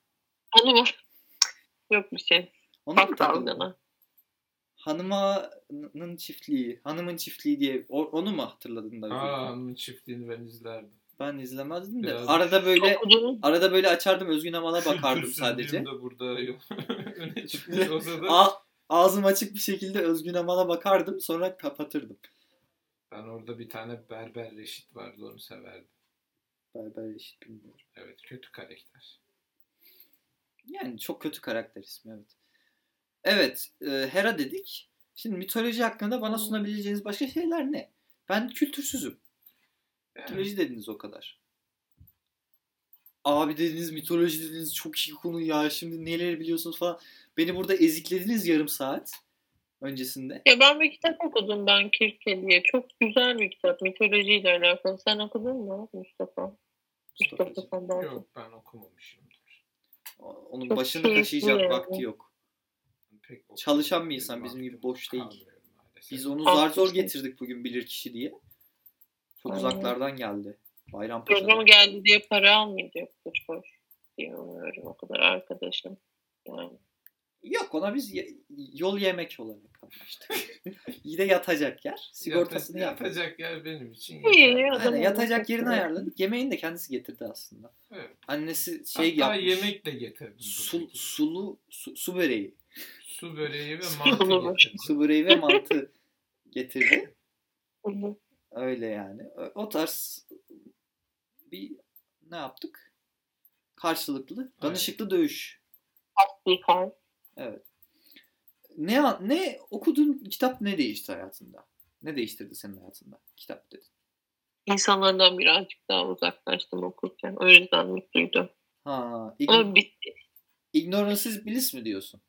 Speaker 3: Onu var. Yok bir şey.
Speaker 1: Ona mı
Speaker 3: Bak
Speaker 1: takıldın?
Speaker 3: dalgana.
Speaker 1: Hanıma'nın çiftliği. Hanımın çiftliği diye. o- onu mu hatırladın da?
Speaker 2: Aa hanımın çiftliğini ben izlerdim.
Speaker 1: Ben izlemezdim de.
Speaker 2: Biraz-
Speaker 1: Arada böyle
Speaker 3: Okudum.
Speaker 1: arada böyle açardım Özgün Amal'a bakardım
Speaker 2: Kültür
Speaker 1: sadece.
Speaker 2: sürdüğüm
Speaker 1: <laughs>
Speaker 2: de burada yok. <laughs> Öne çıkmış olsa da
Speaker 1: A- ağzım açık bir şekilde Özgün Amal'a bakardım sonra kapatırdım.
Speaker 2: ben orada bir tane berber reşit vardı onu severdim.
Speaker 1: Berber eşit bilmiyorum.
Speaker 2: Evet kötü karakter.
Speaker 1: Yani çok kötü karakter ismi evet. Evet e, Hera dedik. Şimdi mitoloji hakkında bana sunabileceğiniz başka şeyler ne? Ben kültürsüzüm.
Speaker 2: Yani
Speaker 1: Mitoloji dediniz o kadar. Abi dediniz mitoloji dediniz çok iyi konu ya şimdi neler biliyorsunuz falan. Beni burada eziklediniz yarım saat öncesinde.
Speaker 3: Ya ben bir kitap okudum ben Kirke diye. Çok güzel bir kitap. Mitolojiyle alakalı. Sen okudun mu Mustafa? <laughs> Mustafa
Speaker 1: Mustafa'cığım.
Speaker 3: sen de okudun.
Speaker 2: yok ben okumamışımdır.
Speaker 1: Onun
Speaker 3: Çok
Speaker 1: başını
Speaker 3: keyifli
Speaker 1: kaşıyacak
Speaker 3: yani.
Speaker 1: vakti yok.
Speaker 2: Pek okumuş
Speaker 1: Çalışan bir
Speaker 2: değilim,
Speaker 1: insan, bizim gibi
Speaker 2: vaktim
Speaker 1: boş değil.
Speaker 2: kalmıyor maalesef.
Speaker 1: Biz onu
Speaker 3: Ah,
Speaker 1: zar zor
Speaker 3: işte.
Speaker 1: getirdik bugün bilir kişi diye. Çok
Speaker 3: Aynen.
Speaker 1: uzaklardan geldi. Bayrampaşa'da.
Speaker 3: Programı geldi diye para almayacak. Boş boş. Diye umuyorum o kadar arkadaşım. Yani.
Speaker 1: Yok ona biz ye- yol yemek olarak anlaştık. <laughs> Yine de yatacak yer. Sigortasını
Speaker 2: Yata-
Speaker 1: yaptık.
Speaker 2: Yatacak yer benim için.
Speaker 3: İyi,
Speaker 2: yeterli.
Speaker 3: yat-
Speaker 1: Aynen, yatacak
Speaker 3: Adamın
Speaker 1: yerini
Speaker 3: yatacak
Speaker 1: ayarladık. Yemeğini de kendisi getirdi aslında.
Speaker 2: Evet.
Speaker 1: Annesi şey
Speaker 2: Şey Hatta
Speaker 1: yapmış.
Speaker 2: yemek de getirdim.
Speaker 1: Su,
Speaker 2: Su, su,
Speaker 1: sulu su, su böreği.
Speaker 2: böreği ve
Speaker 3: Su
Speaker 2: mantı
Speaker 3: bulmuş.
Speaker 2: getirdim.
Speaker 1: Su böreği ve mantı <laughs> getirdi.
Speaker 3: Hı hı.
Speaker 1: Öyle yani. Ö- O tarz bir ne yaptık? Karşılıklı, danışıklı dövüş
Speaker 3: Bir kar.
Speaker 1: Ne ne okudun kitap ne değişti hayatında? Ne değiştirdi senin hayatında? Kitap dedi.
Speaker 3: İnsanlardan birazcık daha uzaklaştım okurken. O yüzden mutluydum.
Speaker 1: Ha, ign-
Speaker 3: Ama bitti.
Speaker 1: ignorance is bliss mi diyorsun?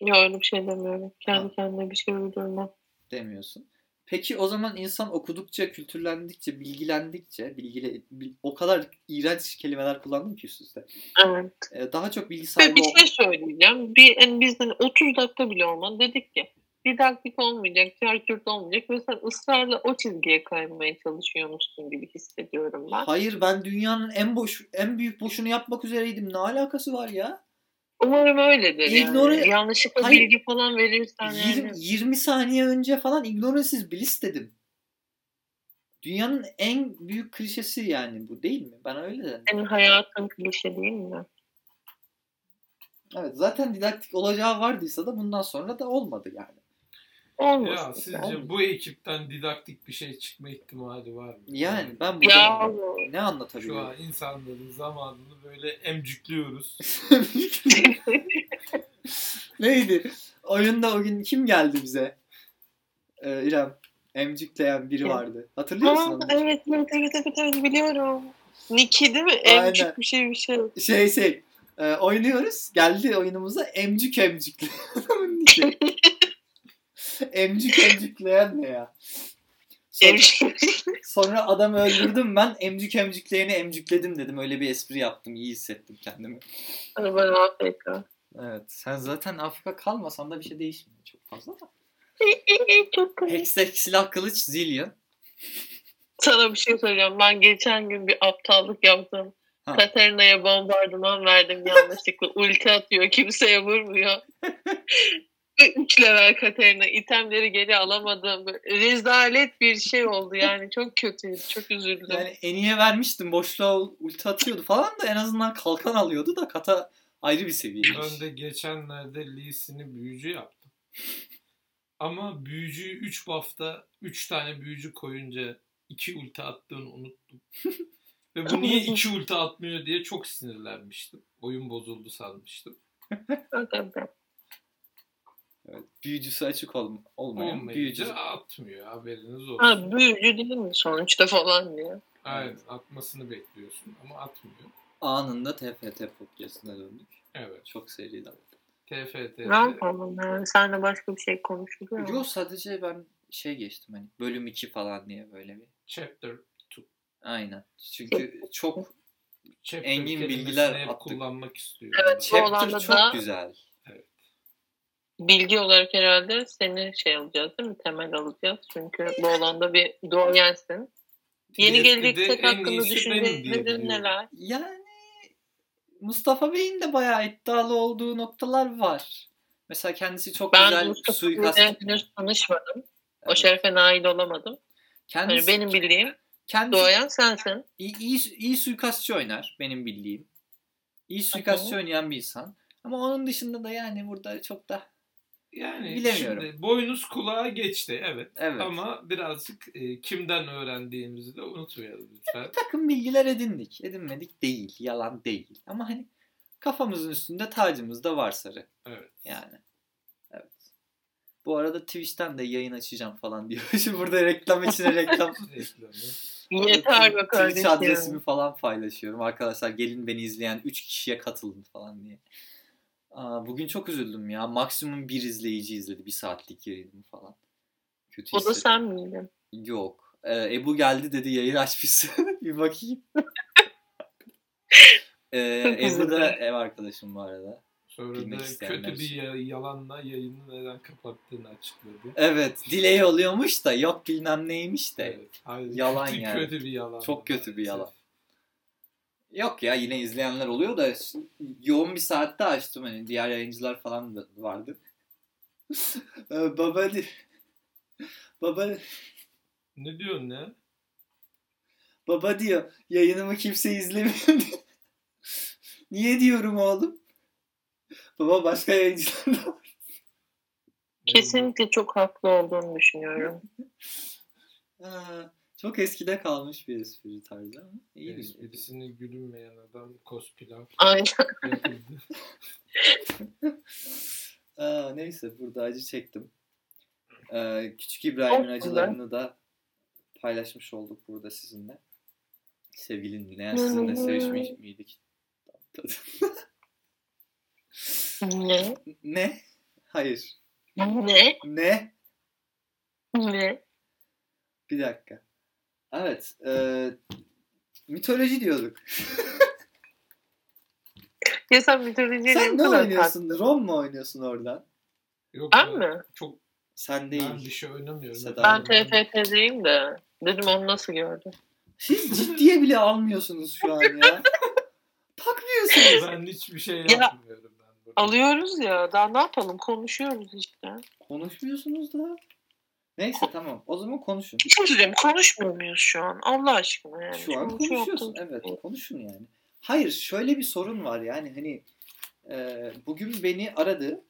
Speaker 3: Ya öyle bir şey demiyorum.
Speaker 1: Ha.
Speaker 3: Kendi kendime bir şey uydurmam.
Speaker 1: Demiyorsun. Peki o zaman insan okudukça, kültürlendikçe, bilgilendikçe, bilgile bil- o kadar iğrenç kelimeler kullandım ki üst üste.
Speaker 3: Evet.
Speaker 1: Ee, daha çok bilgi
Speaker 3: Ve
Speaker 1: sahibi
Speaker 3: bir
Speaker 1: ol-
Speaker 3: şey söyleyeceğim. Bir, yani bizden 30 dakika bile olmadı. Dedik ki didaktik olmayacak, çarçurt olmayacak ve sen ısrarla o çizgiye kaymaya çalışıyormuşsun gibi hissediyorum ben.
Speaker 1: Hayır ben dünyanın en boş en büyük boşunu yapmak üzereydim. Ne alakası var ya?
Speaker 3: Umarım öyledir
Speaker 1: İgnore-
Speaker 3: yani. Yanlışlıkla
Speaker 1: Hayır.
Speaker 3: bilgi falan verirsen yani.
Speaker 1: 20, 20 saniye önce falan ignorance is bliss dedim. Dünyanın en büyük klişesi yani bu değil mi? Ben öyle dedim.
Speaker 3: Senin hayatın klişe değil mi?
Speaker 1: Evet zaten didaktik olacağı vardıysa da bundan sonra da olmadı yani.
Speaker 3: Olmasın.
Speaker 2: Ya
Speaker 3: sen.
Speaker 2: sizce bu ekipten didaktik bir şey çıkma ihtimali var mı?
Speaker 1: Yani ben burada
Speaker 3: Ya <laughs>
Speaker 1: ne <laughs>
Speaker 2: şu
Speaker 1: anlatabiliyorum?
Speaker 2: an insanların zamanını böyle emcükliyoruz.
Speaker 1: <laughs> Neydi? Oyunda o gün kim geldi bize? Ee, İrem. Emcükleyen biri
Speaker 3: Kim?
Speaker 1: vardı. Hatırlıyor
Speaker 3: Aa,
Speaker 1: musun? onu?
Speaker 3: evet, evet, evet, evet, evet, biliyorum. Niki değil mi?
Speaker 1: Aynen.
Speaker 3: Emcik bir şey bir şey.
Speaker 1: Şey şey. e, oynuyoruz. Geldi oyunumuza emcük emcükle. <laughs> Adamın niki. emcük emcükleyen ne ya? Sonra-
Speaker 3: Emcik.
Speaker 1: Sonra adamı öldürdüm ben emcük emcükleyeni emcükledim dedim. Öyle bir espri yaptım. iyi hissettim kendimi.
Speaker 3: Bana Afrika.
Speaker 1: Evet. Sen zaten Afrika kalmasan da bir şey değişmiyor çok fazla da.
Speaker 3: Çok komik.
Speaker 1: Hextech silah kılıç zillion.
Speaker 3: Sana bir şey söyleyeceğim. Ben geçen gün bir aptallık yaptım.
Speaker 1: Ha.
Speaker 3: Katarina'ya bombardıman verdim yanlışlıkla. Ulti atıyor. Kimseye vurmuyor.
Speaker 1: <laughs>
Speaker 3: Ve Üç level Katarina. itemleri geri alamadım. Böyle Rezalet bir şey oldu yani. Çok kötüydü. Çok üzüldüm.
Speaker 1: Yani eniye vermiştim. Boşluğa ulti atıyordu falan da en azından kalkan alıyordu da kata ayrı bir seviyeymiş.
Speaker 2: Ben de geçenlerde Lee'sini büyücü yaptım. Ama büyücüyü 3 buff'ta 3 tane büyücü koyunca 2 ulti
Speaker 1: <laughs>
Speaker 2: attığını unuttum. Ve bu niye 2 ulti atmıyor diye çok sinirlenmiştim. Oyun bozuldu sanmıştım.
Speaker 3: Hakikaten.
Speaker 1: Evet, büyücüsü açık olma, olmayan büyücü.
Speaker 2: Olmayınca atmıyor haberiniz olsun.
Speaker 3: Ha, büyücü değil mi sonuçta falan diye.
Speaker 2: Aynen atmasını bekliyorsun ama atmıyor.
Speaker 1: Anında TFT podcastine döndük.
Speaker 2: Evet.
Speaker 1: Çok seriden.
Speaker 2: TFT.
Speaker 3: Ne yapalım yani? Senle başka bir şey konuşuluyor mu?
Speaker 1: Yo sadece ben şey geçtim hani bölüm 2 falan diye böyle bir.
Speaker 2: Chapter
Speaker 1: Aynen.
Speaker 3: <laughs>
Speaker 1: Çünkü çok
Speaker 2: chapter
Speaker 1: Engin
Speaker 2: kelimesini
Speaker 1: bilgiler
Speaker 2: hep
Speaker 1: attık.
Speaker 2: kullanmak istiyor.
Speaker 3: Evet,
Speaker 2: Ben-
Speaker 3: bu
Speaker 1: chapter
Speaker 3: alanda
Speaker 1: çok
Speaker 3: da-
Speaker 1: güzel.
Speaker 3: Bilgi olarak herhalde seni şey alacağız değil mi? Temel alacağız. Çünkü bu alanda bir doğayensin. Yeni
Speaker 2: TFT'de
Speaker 3: gelecek
Speaker 2: en
Speaker 3: set hakkında
Speaker 2: iyisi benim diye
Speaker 3: düşünceleri
Speaker 2: biliyorum.
Speaker 3: neler?
Speaker 1: Yani Mustafa Bey'in de bayağı iddialı olduğu noktalar var. Mesela kendisi çok
Speaker 3: Ben
Speaker 1: güzel
Speaker 3: Mustafa
Speaker 1: suikast.
Speaker 3: Bey'le henüz tanışmadım. O
Speaker 1: Evet.
Speaker 3: şerefe nail olamadım. Yani
Speaker 1: Kendisi,
Speaker 3: Hani benim bildiğim
Speaker 1: Kendisi
Speaker 3: Doğayan sensin.
Speaker 1: iyi, iyi, iyi suikastçı oynar benim bildiğim. İyi suikastçı
Speaker 4: tamam.
Speaker 1: oynayan bir insan. Ama onun dışında da yani burada çok da
Speaker 2: Yani
Speaker 1: Bilemiyorum.
Speaker 2: şimdi boynuz kulağa geçti evet.
Speaker 1: evet.
Speaker 2: Ama birazcık e, kimden öğrendiğimizi de unutmayalım
Speaker 1: <laughs>
Speaker 2: lütfen.
Speaker 1: takım bilgiler edindik. Edinmedik değil. Yalan değil. Ama hani kafamızın üstünde tacımız da var sarı.
Speaker 2: Evet.
Speaker 1: Yani. Evet. Bu arada Twitch'ten de yayın açacağım falan diyor. <laughs> Şimdi burada reklam içine reklam.
Speaker 2: Reklamı.
Speaker 3: <laughs> Yeter be
Speaker 1: Twitch
Speaker 3: kardeşim.
Speaker 1: adresimi falan paylaşıyorum. Arkadaşlar gelin beni izleyen 3 kişiye katılın falan diye. Aa, bugün çok üzüldüm ya. Maksimum bir izleyici izledi. Bir saatlik yayınımı falan. Kötü
Speaker 3: O da
Speaker 1: hissettim.
Speaker 3: sen miydin?
Speaker 1: Yok. Ee, Ebu geldi dedi yayın açmışsın. <laughs> bir bakayım. ee,
Speaker 3: Çok
Speaker 1: Ebu da
Speaker 3: üzüldüm.
Speaker 1: ev arkadaşım bu arada.
Speaker 2: Sonra
Speaker 1: Bilmek
Speaker 2: da
Speaker 1: isteyenler
Speaker 2: kötü bir
Speaker 1: için.
Speaker 2: ya- yalanla yayını neden kapattığını açıkladı.
Speaker 1: Evet. Dileği oluyormuş da yok bilmem neymiş de.
Speaker 2: Evet. Hayır,
Speaker 1: Yalan
Speaker 2: kötü,
Speaker 1: yani.
Speaker 2: Kötü bir yalan.
Speaker 1: Çok kötü bir
Speaker 2: maalesef.
Speaker 1: yalan. Yok ya yine izleyenler oluyor da yoğun bir saatte açtım hani diğer yayıncılar falan da vardı. <laughs> Ee, baba di- baba
Speaker 2: Ne diyorsun ya?
Speaker 1: baba diyor yayınımı kimse izlemiyor. diyor. <laughs> Niye diyorum oğlum? Baba başka yayıncılar da var.
Speaker 3: Kesinlikle çok haklı olduğunu düşünüyorum.
Speaker 1: Aa, Çok eskide kalmış bir espri tarzı ama iyi bir
Speaker 2: Ee,
Speaker 1: espri.
Speaker 2: Birisini gülünmeyen adam kospilav
Speaker 3: Aynen. <laughs>
Speaker 2: yapıldı.
Speaker 1: Aa, neyse burada acı çektim. Ee, Küçük İbrahim'in
Speaker 3: Olsun lan.
Speaker 1: acılarını da paylaşmış olduk burada sizinle. Sevgili dinleyen sizinle sevişmiş miydik?
Speaker 3: Ne?
Speaker 1: ne? Hayır.
Speaker 3: Ne?
Speaker 1: Ne?
Speaker 3: Ne?
Speaker 1: Bir dakika. Evet. e, mitoloji diyorduk.
Speaker 3: Ya sen mitolojiyle
Speaker 1: Sen
Speaker 3: bu
Speaker 1: ne
Speaker 3: kadar
Speaker 1: oynuyorsun? Ron mu oynuyorsun oradan?
Speaker 2: Yok
Speaker 3: kalktın? Ben
Speaker 2: ya,
Speaker 3: mi?
Speaker 2: Çok
Speaker 1: Sen
Speaker 2: ben
Speaker 1: değil.
Speaker 2: bir şey oynamıyorum.
Speaker 1: Seda.
Speaker 3: Ben TFT'deyim de. Dedim onu nasıl gördün?
Speaker 1: Siz ciddiye bile almıyorsunuz şu an <laughs> ya. Takmıyorsunuz.
Speaker 2: Ben hiçbir şey
Speaker 3: Ya,
Speaker 2: yapmıyorum ben burada.
Speaker 3: Alıyoruz ya. Daha ne yapalım? Konuşuyoruz işte.
Speaker 1: Konuşmuyorsunuz da. Neyse tamam. O zaman konuşun.
Speaker 3: Bir şey söyleyeceğim. Konuşmuyor muyuz şu an? Allah aşkına yani.
Speaker 1: Şu an
Speaker 3: şey
Speaker 1: konuşuyorsun.
Speaker 3: yaptığımız-
Speaker 1: Evet konuşun yani. Hayır şöyle bir sorun var yani hani e, bugün beni aradı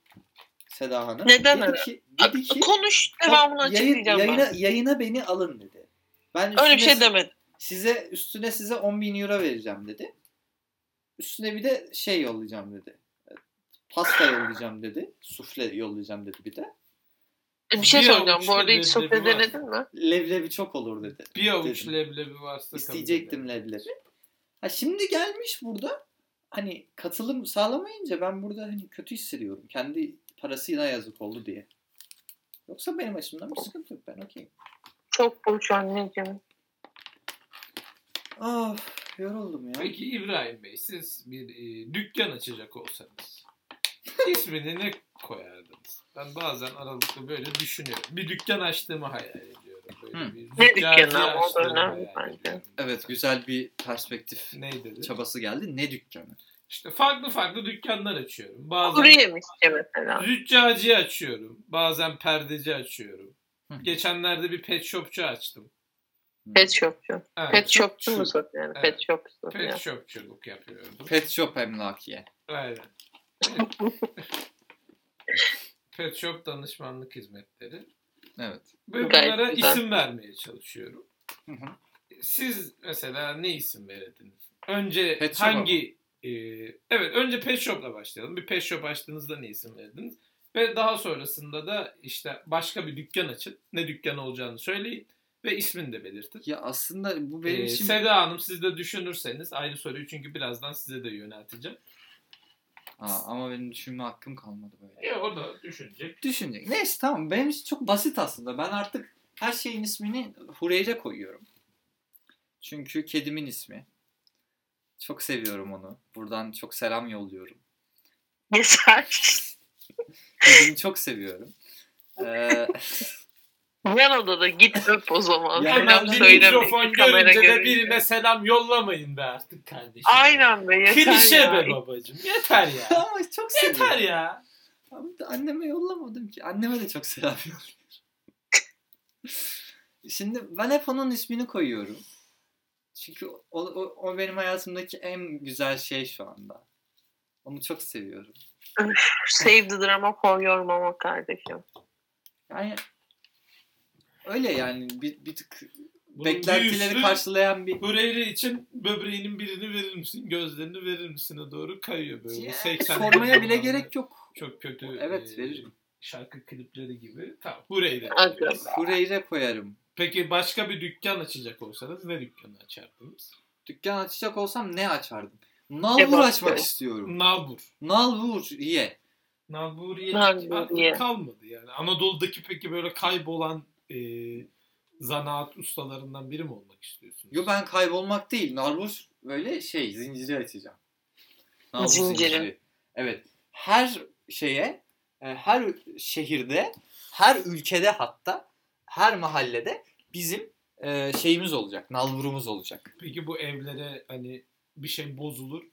Speaker 1: Seda Hanım.
Speaker 3: Neden
Speaker 1: dedi
Speaker 3: aradı?
Speaker 1: ki, dedi
Speaker 2: E,
Speaker 1: ki
Speaker 3: Konuş devamını
Speaker 1: yayın,
Speaker 3: açıklayacağım
Speaker 1: yayına,
Speaker 3: ben.
Speaker 1: yayına beni alın dedi. Ben
Speaker 3: Öyle bir
Speaker 1: üstüne
Speaker 3: şey demedim.
Speaker 1: Size üstüne size 10 bin euro vereceğim dedi. Üstüne bir de şey yollayacağım dedi. Pasta yollayacağım dedi. Sufle yollayacağım dedi bir de.
Speaker 3: E, Bir şey
Speaker 2: Bir
Speaker 3: soracağım. Bu
Speaker 2: avuçta
Speaker 3: arada hiç
Speaker 2: leblebi
Speaker 3: sohbet
Speaker 2: var.
Speaker 3: denedin mi?
Speaker 1: Leblebi çok olur dedi.
Speaker 2: Bir avuç
Speaker 1: Dedim.
Speaker 2: leblebi varsa kabul ederim.
Speaker 1: İsteyecektim leblebi. Ha şimdi gelmiş burada hani katılım sağlamayınca ben burada hani kötü hissediyorum. Kendi parasıyla yazık oldu diye. Yoksa benim açımdan bir sıkıntı yok. Ben okeyim.
Speaker 3: Çok boş anneciğim.
Speaker 1: Of Ah, yoruldum ya.
Speaker 2: Peki İbrahim Bey siz bir e, dükkan açacak olsanız ismini ne koyardınız? Ben bazen aralıklı böyle düşünüyorum. Bir dükkan açtığımı hayal ediyorum. Böyle
Speaker 1: Hı.
Speaker 2: bir
Speaker 3: Ne
Speaker 2: züccaciye
Speaker 3: dükkanı ama o da
Speaker 2: açtığımı
Speaker 3: önemli
Speaker 2: hayal
Speaker 3: bence.
Speaker 2: ediyorum.
Speaker 1: Evet güzel bir perspektif
Speaker 2: Ne dedi?
Speaker 1: çabası geldi. Ne dükkanı?
Speaker 2: İşte farklı farklı dükkanlar açıyorum.
Speaker 3: Kuru
Speaker 2: Bazen
Speaker 3: yemişçi mesela.
Speaker 2: züccaciye açıyorum. Bazen perdeci açıyorum.
Speaker 1: Hı.
Speaker 2: Geçenlerde bir pet shopçu açtım.
Speaker 1: Hmm.
Speaker 3: Pet shopçu.
Speaker 2: Evet,
Speaker 3: Pet shopçu mu
Speaker 2: şu-
Speaker 3: satıyor? Yani?
Speaker 2: Evet.
Speaker 3: Pet shopçu satıyor.
Speaker 2: Pet shopçuluk yapıyorum.
Speaker 1: Pet shop emlakiye.
Speaker 3: <laughs>
Speaker 2: Aynen. Pet Shop danışmanlık hizmetleri.
Speaker 1: Evet.
Speaker 2: Ve
Speaker 3: Gayet
Speaker 2: bunlara
Speaker 3: güzel.
Speaker 2: isim vermeye çalışıyorum.
Speaker 1: Hı hı.
Speaker 2: Siz mesela ne isim verirdiniz? Önce
Speaker 1: Pet Shop'a
Speaker 2: hangi e, evet önce Pet Shop'la başlayalım. Bir Pet Shop açtığınızda ne isim verdiniz? Ve daha sonrasında da işte başka bir dükkan açın. Ne dükkan olacağını söyleyin ve ismini de belirtin.
Speaker 1: Ya aslında bu benim
Speaker 2: Ee,
Speaker 1: için
Speaker 2: Seda Hanım siz de düşünürseniz aynı soruyu çünkü birazdan size de yönelteceğim.
Speaker 1: Aa, ama benim düşünme hakkım kalmadı böyle.
Speaker 2: E, o da düşünecek.
Speaker 1: Düşünecek. Neyse tamam. Benim için çok basit aslında. Ben artık her şeyin ismini Hureyre koyuyorum. Çünkü kedimin ismi. Çok seviyorum onu. Buradan çok selam yolluyorum.
Speaker 3: Yeter.
Speaker 1: Kedimi çok <laughs> seviyorum. Ee,
Speaker 3: Yan odada git öp o zaman.
Speaker 1: Ya
Speaker 3: Hemen
Speaker 2: Hemen
Speaker 1: ben
Speaker 2: bir
Speaker 3: söyleme.
Speaker 2: mikrofon
Speaker 3: Kamera
Speaker 2: görünce de
Speaker 3: görünce.
Speaker 2: birine selam yollamayın be artık kardeşim.
Speaker 3: Aynen be yeter
Speaker 2: Klişe
Speaker 3: ya.
Speaker 2: be babacım. Yeter ya.
Speaker 1: <laughs> ama çok
Speaker 2: Yeter
Speaker 1: seviyorum.
Speaker 2: ya.
Speaker 1: Ama da anneme yollamadım ki. Anneme de çok selam yolluyorum. Şimdi ben hep onun ismini koyuyorum. Çünkü o, o, o benim hayatımdaki en güzel şey şu anda. Onu çok seviyorum.
Speaker 3: Save the drama for your mama kardeşim.
Speaker 1: Yani öyle yani bir, bir tık
Speaker 2: Bunun bir
Speaker 1: beklentileri
Speaker 2: üstü-
Speaker 1: karşılayan bir
Speaker 2: Hureyre için böbreğinin birini verir misin? Gözlerini verir misin'e doğru kayıyor böyle. Bu
Speaker 1: Yani
Speaker 2: 80
Speaker 1: sormaya bile
Speaker 2: zamanları
Speaker 1: gerek yok.
Speaker 2: Çok kötü.
Speaker 1: Evet,
Speaker 2: e,
Speaker 1: veririm.
Speaker 2: Şarkı klipleri gibi. Tamam Hureyre.
Speaker 3: Evet.
Speaker 2: diyoruz.
Speaker 1: Hureyre koyarım.
Speaker 2: Peki başka bir dükkan açacak olsanız ne dükkanı açardınız?
Speaker 1: Dükkan açacak olsam ne açardım? Nalbur
Speaker 3: Kebap.
Speaker 1: açmak istiyorum.
Speaker 2: Nalbur.
Speaker 1: Nalbur ye.
Speaker 2: Nalburiye
Speaker 3: Nalburiye.
Speaker 2: artık kalmadı yani. Anadolu'daki peki böyle kaybolan e, zanaat ustalarından biri mi olmak istiyorsunuz?
Speaker 1: Yo ben kaybolmak değil. Nalbur böyle şey zinciri açacağım. Nalbur
Speaker 3: Zinciri.
Speaker 1: Evet. Her şeye, e, her şehirde, her ülkede hatta, her mahallede bizim e, şeyimiz olacak. Nalburumuz olacak.
Speaker 2: Peki bu evlere hani bir şey bozulur.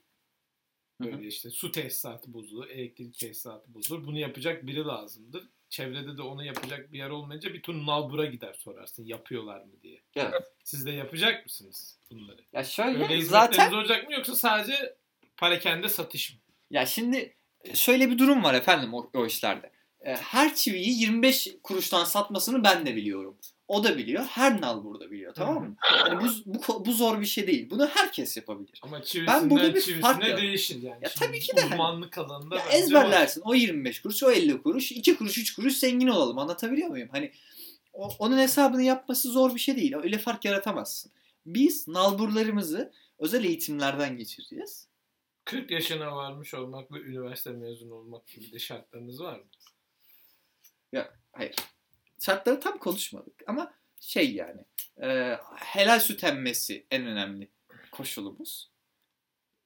Speaker 1: Hı hı.
Speaker 2: Böyle işte su tesisatı bozulur, elektrik tesisatı bozulur. Bunu yapacak biri lazımdır. Çevrede de onu yapacak bir yer olmayınca bir tur nalbura gider sorarsın yapıyorlar mı diye.
Speaker 1: Evet.
Speaker 2: Siz de yapacak mısınız bunları?
Speaker 1: Ya
Speaker 2: Öyle
Speaker 1: şöyle
Speaker 2: hizmetleriniz
Speaker 1: zaten
Speaker 2: olacak mı yoksa sadece parakende satış mı?
Speaker 1: Ya şimdi şöyle bir durum var efendim o, o işlerde. E, Her çiviyi 25 kuruştan satmasını ben de biliyorum. O da biliyor. Her nal burada biliyor tamam mı? Yani bu, bu, ko- bu zor bir şey değil. Bunu herkes yapabilir.
Speaker 2: Ama çivisinden
Speaker 1: burada bir
Speaker 2: çivisine
Speaker 1: fark yok.
Speaker 2: değişir yani.
Speaker 1: Ya
Speaker 2: Şimdi
Speaker 1: tabii ki de hani.
Speaker 2: Uzmanlık alanında
Speaker 1: Ya
Speaker 2: bence var.
Speaker 1: ezberlersin. O 25 kuruş, o 50 kuruş, 2 kuruş, 3 kuruş zengin olalım. Anlatabiliyor muyum? Hani o- onun hesabını yapması zor bir şey değil. Öyle fark yaratamazsın. Biz nalburlarımızı özel eğitimlerden geçireceğiz.
Speaker 2: 40 yaşına varmış olmak ve üniversite mezunu olmak gibi de şartlarınız var mı?
Speaker 1: şartları tam konuşmadık ama şey yani e, helal süt emmesi en önemli koşulumuz.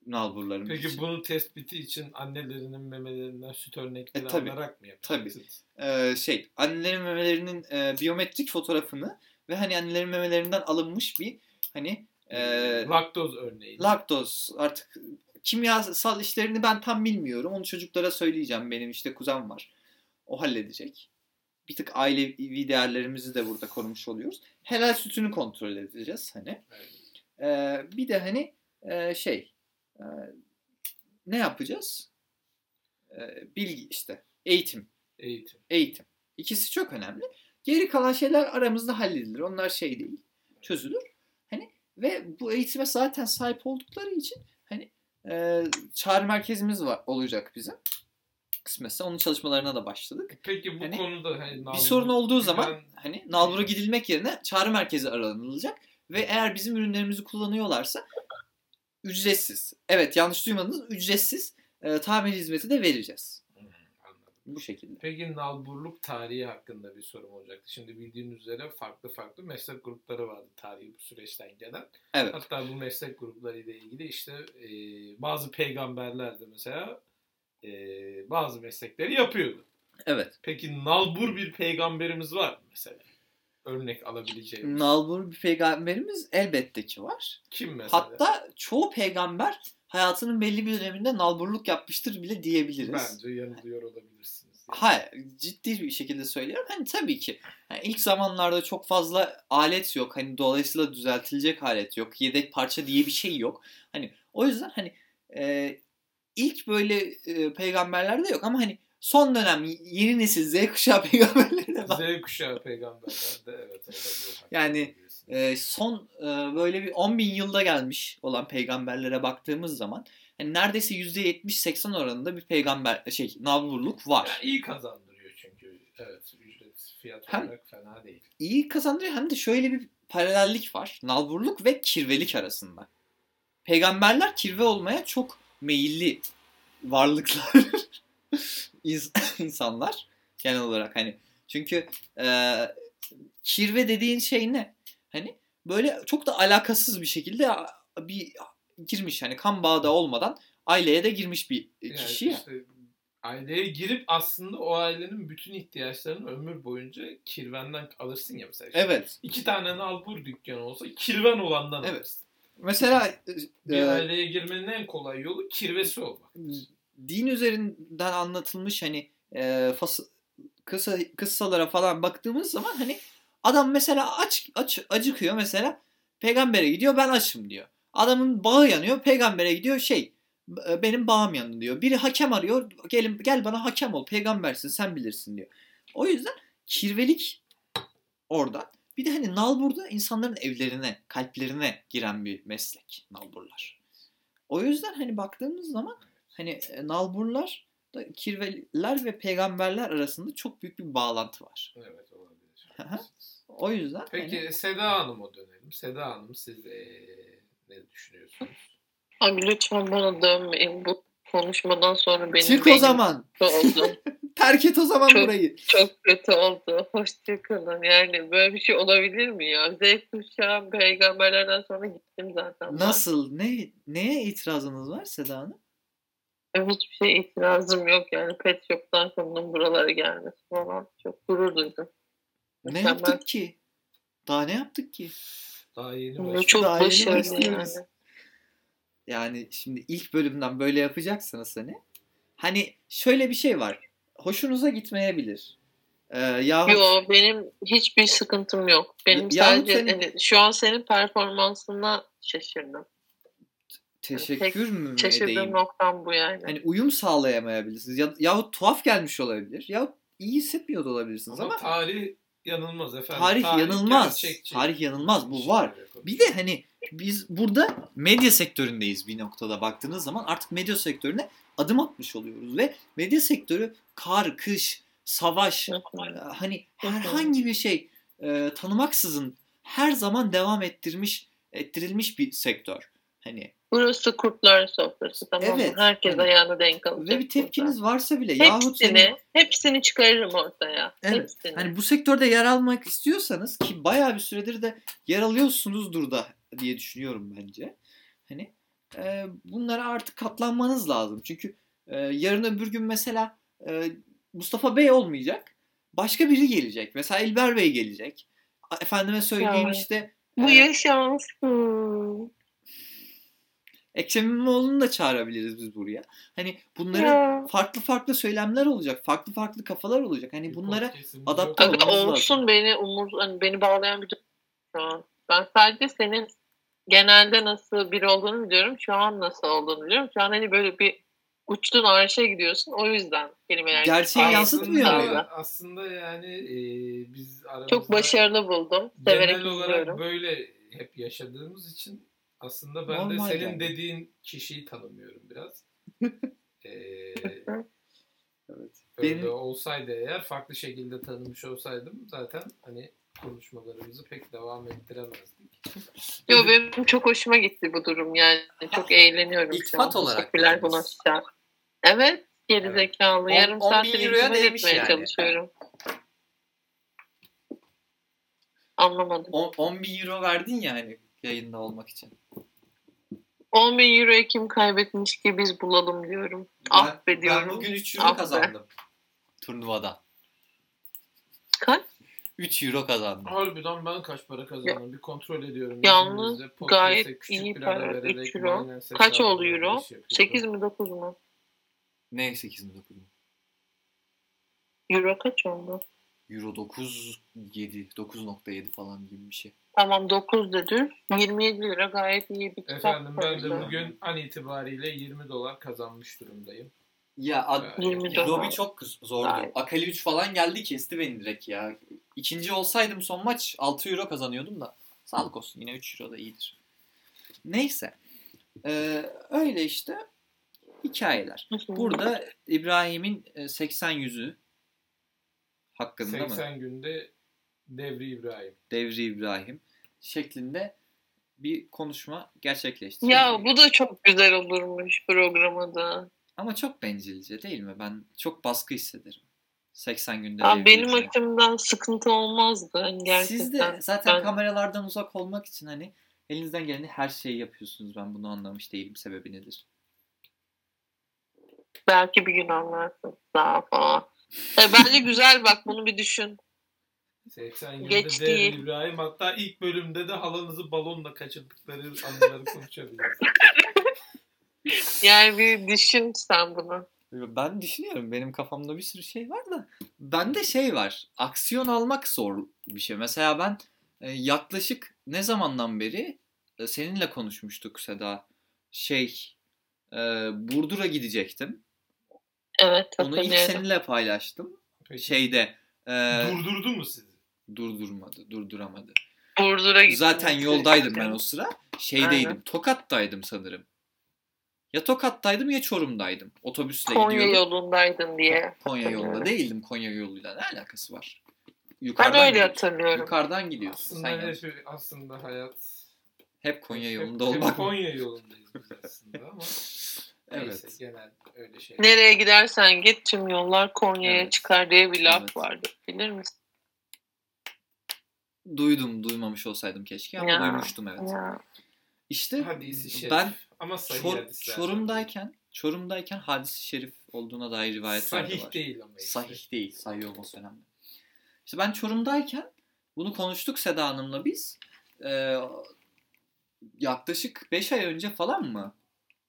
Speaker 1: Nalburlarımız
Speaker 2: Peki
Speaker 1: için.
Speaker 2: bunun tespiti için annelerinin memelerinden süt örnekleri
Speaker 1: E, tabii.
Speaker 2: alarak mı
Speaker 1: Tabii.
Speaker 2: yapacaksınız?
Speaker 1: E, şey annelerin memelerinin e, biyometrik fotoğrafını ve hani annelerin memelerinden alınmış bir hani e,
Speaker 2: Laktoz örneği.
Speaker 1: laktoz artık kimyasal işlerini ben tam bilmiyorum. Onu çocuklara söyleyeceğim. Benim işte kuzen var. O halledecek. Bir tık ailevi değerlerimizi de burada korumuş oluyoruz. Helal sütünü kontrol edeceğiz hani.
Speaker 2: Evet.
Speaker 1: Ee, bir de hani e, şey e, ne yapacağız? Ee, bilgi işte. Eğitim.
Speaker 2: Eğitim.
Speaker 1: Eğitim. İkisi çok önemli. Geri kalan şeyler aramızda halledilir. Onlar şey değil. Çözülür. Hani ve bu eğitime zaten sahip oldukları için hani e, çağrı merkezimiz var olacak bizim. Kısmetse onun çalışmalarına da başladık.
Speaker 2: Peki bu
Speaker 1: Hani
Speaker 2: konuda hani
Speaker 1: Bir
Speaker 2: nalbur-
Speaker 1: sorun olduğu zaman
Speaker 2: Ben-
Speaker 1: hani nalbura gidilmek yerine çağrı merkezi aranılacak ve eğer bizim ürünlerimizi kullanıyorlarsa ücretsiz. Evet yanlış duymadınız. Ücretsiz e, tamir hizmeti de vereceğiz.
Speaker 2: Anladım.
Speaker 1: Bu şekilde.
Speaker 2: Peki nalburluk tarihi hakkında bir sorum olacaktı. Şimdi bildiğiniz üzere farklı farklı meslek grupları vardı tarihi bu süreçten gelen.
Speaker 1: Evet.
Speaker 2: Hatta bu meslek grupları ile ilgili işte e, bazı peygamberler de mesela e, bazı meslekleri yapıyordu.
Speaker 1: Evet.
Speaker 2: Peki nalbur bir peygamberimiz var mı mesela? Örnek alabileceğim.
Speaker 1: Nalbur bir peygamberimiz elbette ki var.
Speaker 2: Kim mesela?
Speaker 1: Hatta çoğu peygamber hayatının belli bir döneminde nalburluk yapmıştır bile diyebiliriz.
Speaker 2: Bence yanılıyor olabilirsiniz.
Speaker 1: Hayır ciddi bir şekilde söylüyorum. Hani tabii ki yani ilk zamanlarda çok fazla alet yok. Hani dolayısıyla düzeltilecek alet yok. Yedek parça diye bir şey yok. Hani o yüzden hani e, ilk böyle e, peygamberlerde yok ama hani son dönem yeni nesil Z kuşağı <laughs> peygamberlerinde var.
Speaker 2: Z kuşağı peygamberler de evet olabilir.
Speaker 1: Yani,
Speaker 2: Olabilirsiniz.
Speaker 1: E, son e, böyle bir 10 bin yılda gelmiş olan peygamberlere baktığımız zaman hani neredeyse %70-80 oranında bir peygamber şey navurluk var.
Speaker 2: Ya iyi kazandırıyor çünkü. Evet ücret fiyat
Speaker 1: Hem-
Speaker 2: olarak fena değil.
Speaker 1: iyi kazandırıyor hem de şöyle bir paralellik var. Nalburluk ve kirvelik arasında. Peygamberler kirve olmaya çok meyilli varlıklar <laughs> İns- insanlar genel olarak hani çünkü e, kirve dediğin şey ne? Hani böyle çok da alakasız bir şekilde a- bir girmiş hani kan bağı da olmadan aileye de girmiş bir
Speaker 2: Yani
Speaker 1: E, kişi ya.
Speaker 2: işte aileye girip aslında o ailenin bütün ihtiyaçlarını ömür boyunca kirvenden alırsın ya mesela. İşte
Speaker 1: Evet.
Speaker 2: İki tane nalbur dükkanı olsa kirven olandan
Speaker 1: Evet.
Speaker 2: alırsın.
Speaker 1: Mesela e,
Speaker 2: Bir
Speaker 1: e,
Speaker 2: aileye girmenin en kolay yolu kirvesi olmak.
Speaker 1: din üzerinden anlatılmış hani e, fas, kısa kıssalara falan baktığımız zaman hani adam mesela aç aç acıkıyor mesela Peygambere gidiyor ben açım diyor. Adamın bağı yanıyor. Peygambere gidiyor şey e, benim bağım yandı diyor. Biri hakem arıyor. Gelin gel bana hakem ol. Peygambersin sen bilirsin diyor. O yüzden kirvelik orada. Bir de hani nalburda insanların evlerine, kalplerine giren bir meslek nalburlar. O yüzden hani baktığımız zaman hani e, nalburlar da kirveler ve peygamberler arasında çok büyük bir bağlantı var.
Speaker 2: Evet olabilir.
Speaker 1: Hı hı. O yüzden
Speaker 2: Peki
Speaker 1: hani
Speaker 2: Seda Hanım'a dönelim. Seda Hanım siz eee, ne düşünüyorsunuz?
Speaker 3: Abi lütfen bana dönmeyin. Bu konuşmadan sonra benim
Speaker 1: çık o
Speaker 3: beynim
Speaker 1: zaman.
Speaker 3: kötü <laughs> oldu.
Speaker 1: Terk et o zaman
Speaker 3: Çok-
Speaker 1: burayı.
Speaker 3: Çok kötü oldu. Hoşçakalın. Yani böyle bir şey olabilir mi ya? Z kuşağı peygamberlerden sonra gittim zaten. ben.
Speaker 1: Nasıl? Ne neye itirazınız var Seda Hanım?
Speaker 3: Benim E, Hiçbir şeye itirazım yok yani. Pet Shop'tan konunun buralara gelmesi falan. Çok gurur duydum.
Speaker 1: Ne
Speaker 3: Mükemmel.
Speaker 1: yaptık ki? Daha ne yaptık ki?
Speaker 2: Daha yeni
Speaker 3: Bu
Speaker 2: başladık.
Speaker 3: çok
Speaker 1: Daha yeni
Speaker 3: başarılı yani.
Speaker 1: başlıyoruz. Yani şimdi ilk bölümden böyle yapacaksanız hani. Hani şöyle bir şey var. Hoşunuza gitmeyebilir. Ee, yahut
Speaker 3: Yo benim hiçbir sıkıntım yok. Benim
Speaker 1: Ya- yalnız
Speaker 3: sadece
Speaker 1: senin-
Speaker 3: hani şu an senin performansına şaşırdım.
Speaker 1: teşekkür mü edeyim?
Speaker 3: Şaşırdığım noktam bu yani.
Speaker 1: Hani uyum sağlayamayabilirsiniz. Ya, yahut tuhaf gelmiş olabilir. Yahut iyi hissetmiyor da olabilirsiniz
Speaker 2: Ama
Speaker 1: ama
Speaker 2: tarih yanılmaz efendim.
Speaker 1: tarih yanılmaz.
Speaker 2: gerçekçi. şey
Speaker 1: Tarih yanılmaz. Bu var. Bir de hani biz burada medya sektöründeyiz bir noktada baktığınız zaman artık medya sektörüne adım atmış oluyoruz ve medya sektörü kar, kış, savaş
Speaker 3: Hı
Speaker 1: e,
Speaker 3: hı.
Speaker 1: hani herhangi bir şey e, tanımaksızın her zaman devam ettirmiş ettirilmiş bir sektör. Hani
Speaker 3: Burası kurtlar sofrası tamam mı?
Speaker 1: Evet.
Speaker 3: Herkes
Speaker 1: Evet.
Speaker 3: ayağına denk alacak.
Speaker 1: ve bir tepkiniz varsa bile
Speaker 3: burada.
Speaker 1: yahut
Speaker 3: Hepsini,
Speaker 1: senin-
Speaker 3: hepsini çıkarırım ortaya.
Speaker 1: Evet.
Speaker 3: Hepsini.
Speaker 1: Hani bu sektörde yer almak istiyorsanız ki bayağı bir süredir de yer alıyorsunuzdur da diye düşünüyorum bence. Hani e, bunlara artık katlanmanız lazım. Çünkü e, yarın öbür gün mesela e, Mustafa Bey olmayacak. Başka biri gelecek. Mesela İlber Bey gelecek. A- Efendime söyleyeyim
Speaker 3: Yani.
Speaker 1: işte
Speaker 3: bu
Speaker 1: e,
Speaker 3: yaşansın.
Speaker 1: Ekrem İmamoğlu'nu da çağırabiliriz biz buraya. Hani bunların
Speaker 3: Ya.
Speaker 1: farklı farklı söylemler olacak. Farklı farklı kafalar olacak. Hani bunlara adapte
Speaker 3: Abi
Speaker 1: olmamız lazım.
Speaker 3: olsun beni umur, hani beni bağlayan bir durum şu an. Ben sadece senin genelde nasıl biri olduğunu biliyorum. Şu an nasıl olduğunu biliyorum. Şu an hani böyle bir uçtun arşa gidiyorsun. O yüzden kelimeler.
Speaker 1: Gerçeği
Speaker 3: Ay,
Speaker 1: yansıtmıyor
Speaker 3: aslında-
Speaker 1: muydu?
Speaker 2: Aslında yani e, biz aramızda
Speaker 3: Çok başarılı buldum. Severek
Speaker 2: genel olarak
Speaker 3: izliyorum.
Speaker 2: böyle hep yaşadığımız için aslında ben
Speaker 1: Normal
Speaker 2: de senin
Speaker 1: yani.
Speaker 2: dediğin kişiyi tanımıyorum
Speaker 1: <laughs>
Speaker 2: biraz. ee,
Speaker 1: Evet.
Speaker 2: öyle
Speaker 1: Benim-
Speaker 2: olsaydı eğer farklı şekilde tanımış olsaydım zaten hani konuşmalarımızı pek devam ettiremezdik.
Speaker 3: Yo, benim çok hoşuma gitti bu durum yani. Çok eğleniyorum şu an.
Speaker 1: İltifat olarak
Speaker 3: Teşekkürler
Speaker 1: dediniz.
Speaker 3: buna size. Evet. Geri zekalı.
Speaker 1: On-
Speaker 3: Yarım
Speaker 1: on
Speaker 3: saattir
Speaker 1: bin euroya
Speaker 3: iltifat
Speaker 1: değmiş
Speaker 3: etmeye
Speaker 1: yani.
Speaker 3: çalışıyorum. Anlamadım.
Speaker 1: 10, bin euro verdin ya hani yayında olmak için.
Speaker 3: 10 bin euroyu kim kaybetmiş ki biz bulalım diyorum. ah be diyorum.
Speaker 1: Ben bugün 3 euro
Speaker 3: euro Ah be.
Speaker 1: kazandım.
Speaker 3: kazandım.
Speaker 1: Turnuvadan.
Speaker 3: Kaç?
Speaker 1: 3 euro kazandım.
Speaker 2: Harbiden ben kaç para kazandım bir kontrol ediyorum.
Speaker 3: Yalnız
Speaker 2: İzninizle. Podcast'e
Speaker 3: gayet
Speaker 2: küçük
Speaker 3: iyi
Speaker 2: bir
Speaker 3: para,
Speaker 2: ara vererek
Speaker 3: üç euro.
Speaker 2: aynen ses
Speaker 3: Kaç oldu
Speaker 2: almadan
Speaker 3: euro?
Speaker 2: iş yapıyordum.
Speaker 3: 8 mi 9 mu?
Speaker 1: Ne 8 mi 9 mu?
Speaker 3: Euro kaç oldu?
Speaker 1: Euro 9 7 9.7 falan gibi bir şey.
Speaker 3: Tamam 9 dedi. 27 lira gayet iyi bir kitap.
Speaker 2: Efendim ben de
Speaker 3: parası.
Speaker 2: bugün an itibariyle 20 dolar kazanmış durumdayım.
Speaker 1: Ya ad-
Speaker 2: Ee,
Speaker 3: 20 dolar.
Speaker 1: lobi çok kız- zordu.
Speaker 3: Gayet.
Speaker 1: Akali 3 falan geldi kesti beni direkt ya. İkinci olsaydım son maç 6 euro kazanıyordum da. Sağlık olsun yine 3 euro da iyidir. Neyse. Ee, öyle işte hikayeler.
Speaker 3: Hı hı.
Speaker 1: Burada İbrahim'in e, 80 yüzü hakkında mı?
Speaker 2: 80 günde Devri İbrahim.
Speaker 1: Devri İbrahim şeklinde bir konuşma gerçekleşti.
Speaker 3: Ya bu da çok güzel olurmuş programı da.
Speaker 1: Ama çok bencilce değil mi? Ben çok baskı hissederim. 80 günde
Speaker 3: Ya
Speaker 1: Devri
Speaker 3: benim
Speaker 1: İbrahim.
Speaker 3: açımdan sıkıntı olmazdı hani gerçekten.
Speaker 1: Siz de zaten
Speaker 3: Ben-
Speaker 1: kameralardan uzak olmak için hani elinizden geleni her şeyi yapıyorsunuz. Ben bunu anlamış değilim. Sebebi nedir?
Speaker 3: Belki bir gün anlarsın daha falan. E, bence güzel bak bunu bir düşün.
Speaker 2: 80 günde
Speaker 3: Geç
Speaker 2: Devri
Speaker 3: değil.
Speaker 2: İbrahim hatta ilk bölümde de halanızı balonla kaçırdıkları anıları konuşabiliriz.
Speaker 1: <laughs>
Speaker 3: Yani bir düşün sen bunu.
Speaker 1: Ben düşünüyorum. Benim kafamda bir sürü şey var da. Bende şey var. Aksiyon almak zor bir şey. Mesela ben E, yaklaşık ne zamandan beri e, seninle konuşmuştuk Seda. Şey, e, Burdur'a gidecektim.
Speaker 3: Evet
Speaker 1: Onu ilk
Speaker 3: hatırlıyorum.
Speaker 1: seninle paylaştım.
Speaker 2: Peki.
Speaker 1: Şeyde e,
Speaker 2: Durdurdu mu sizi?
Speaker 1: durdurmadı, durduramadı.
Speaker 3: Burdur'a gittim.
Speaker 1: Zaten yoldaydım ben o sıra. Şeydeydim.
Speaker 3: Aynen.
Speaker 1: Tokat'taydım sanırım. Ya Tokat'taydım ya Çorum'daydım. Otobüsle
Speaker 3: Konya
Speaker 1: gidiyordum.
Speaker 3: yolundaydın diye.
Speaker 1: Konya yolunda değildim. Konya yoluyla ne alakası var?
Speaker 3: Ben
Speaker 1: Yukarıdan
Speaker 3: öyle
Speaker 1: gidiyorsun.
Speaker 3: hatırlıyorum.
Speaker 1: Yukarıdan gidiyorsun.
Speaker 2: Aslında,
Speaker 1: Sen
Speaker 2: her
Speaker 1: yanlış.
Speaker 2: şey, aslında hayat
Speaker 1: hep Konya
Speaker 2: Hep-
Speaker 1: yolunda
Speaker 2: hep
Speaker 1: olmak mı?
Speaker 2: Konya yolundayız biz aslında ama
Speaker 1: <laughs> Evet.
Speaker 2: neyse genel öyle şey.
Speaker 3: Nereye gidersen git tüm yollar Konya'ya
Speaker 1: Evet.
Speaker 3: çıkar diye bir laf
Speaker 1: Evet.
Speaker 3: vardı. Bilir misin?
Speaker 1: Duydum, duymamış olsaydım keşke ama
Speaker 3: Ya.
Speaker 1: duymuştum evet.
Speaker 3: Ya.
Speaker 1: İşte
Speaker 2: Hadisi şerif.
Speaker 1: Ben
Speaker 2: ama sahih
Speaker 1: Çor-
Speaker 2: hadisler.
Speaker 1: Çorum'dayken Çorum'dayken hadisi şerif olduğuna dair rivayetler de
Speaker 2: Sahih
Speaker 1: var.
Speaker 2: değil ama işte.
Speaker 1: Sahih değil. Sahih olması önemli. İşte ben Çorum'dayken bunu konuştuk Seda Hanım'la biz. Ee, yaklaşık 5 ay önce falan mı?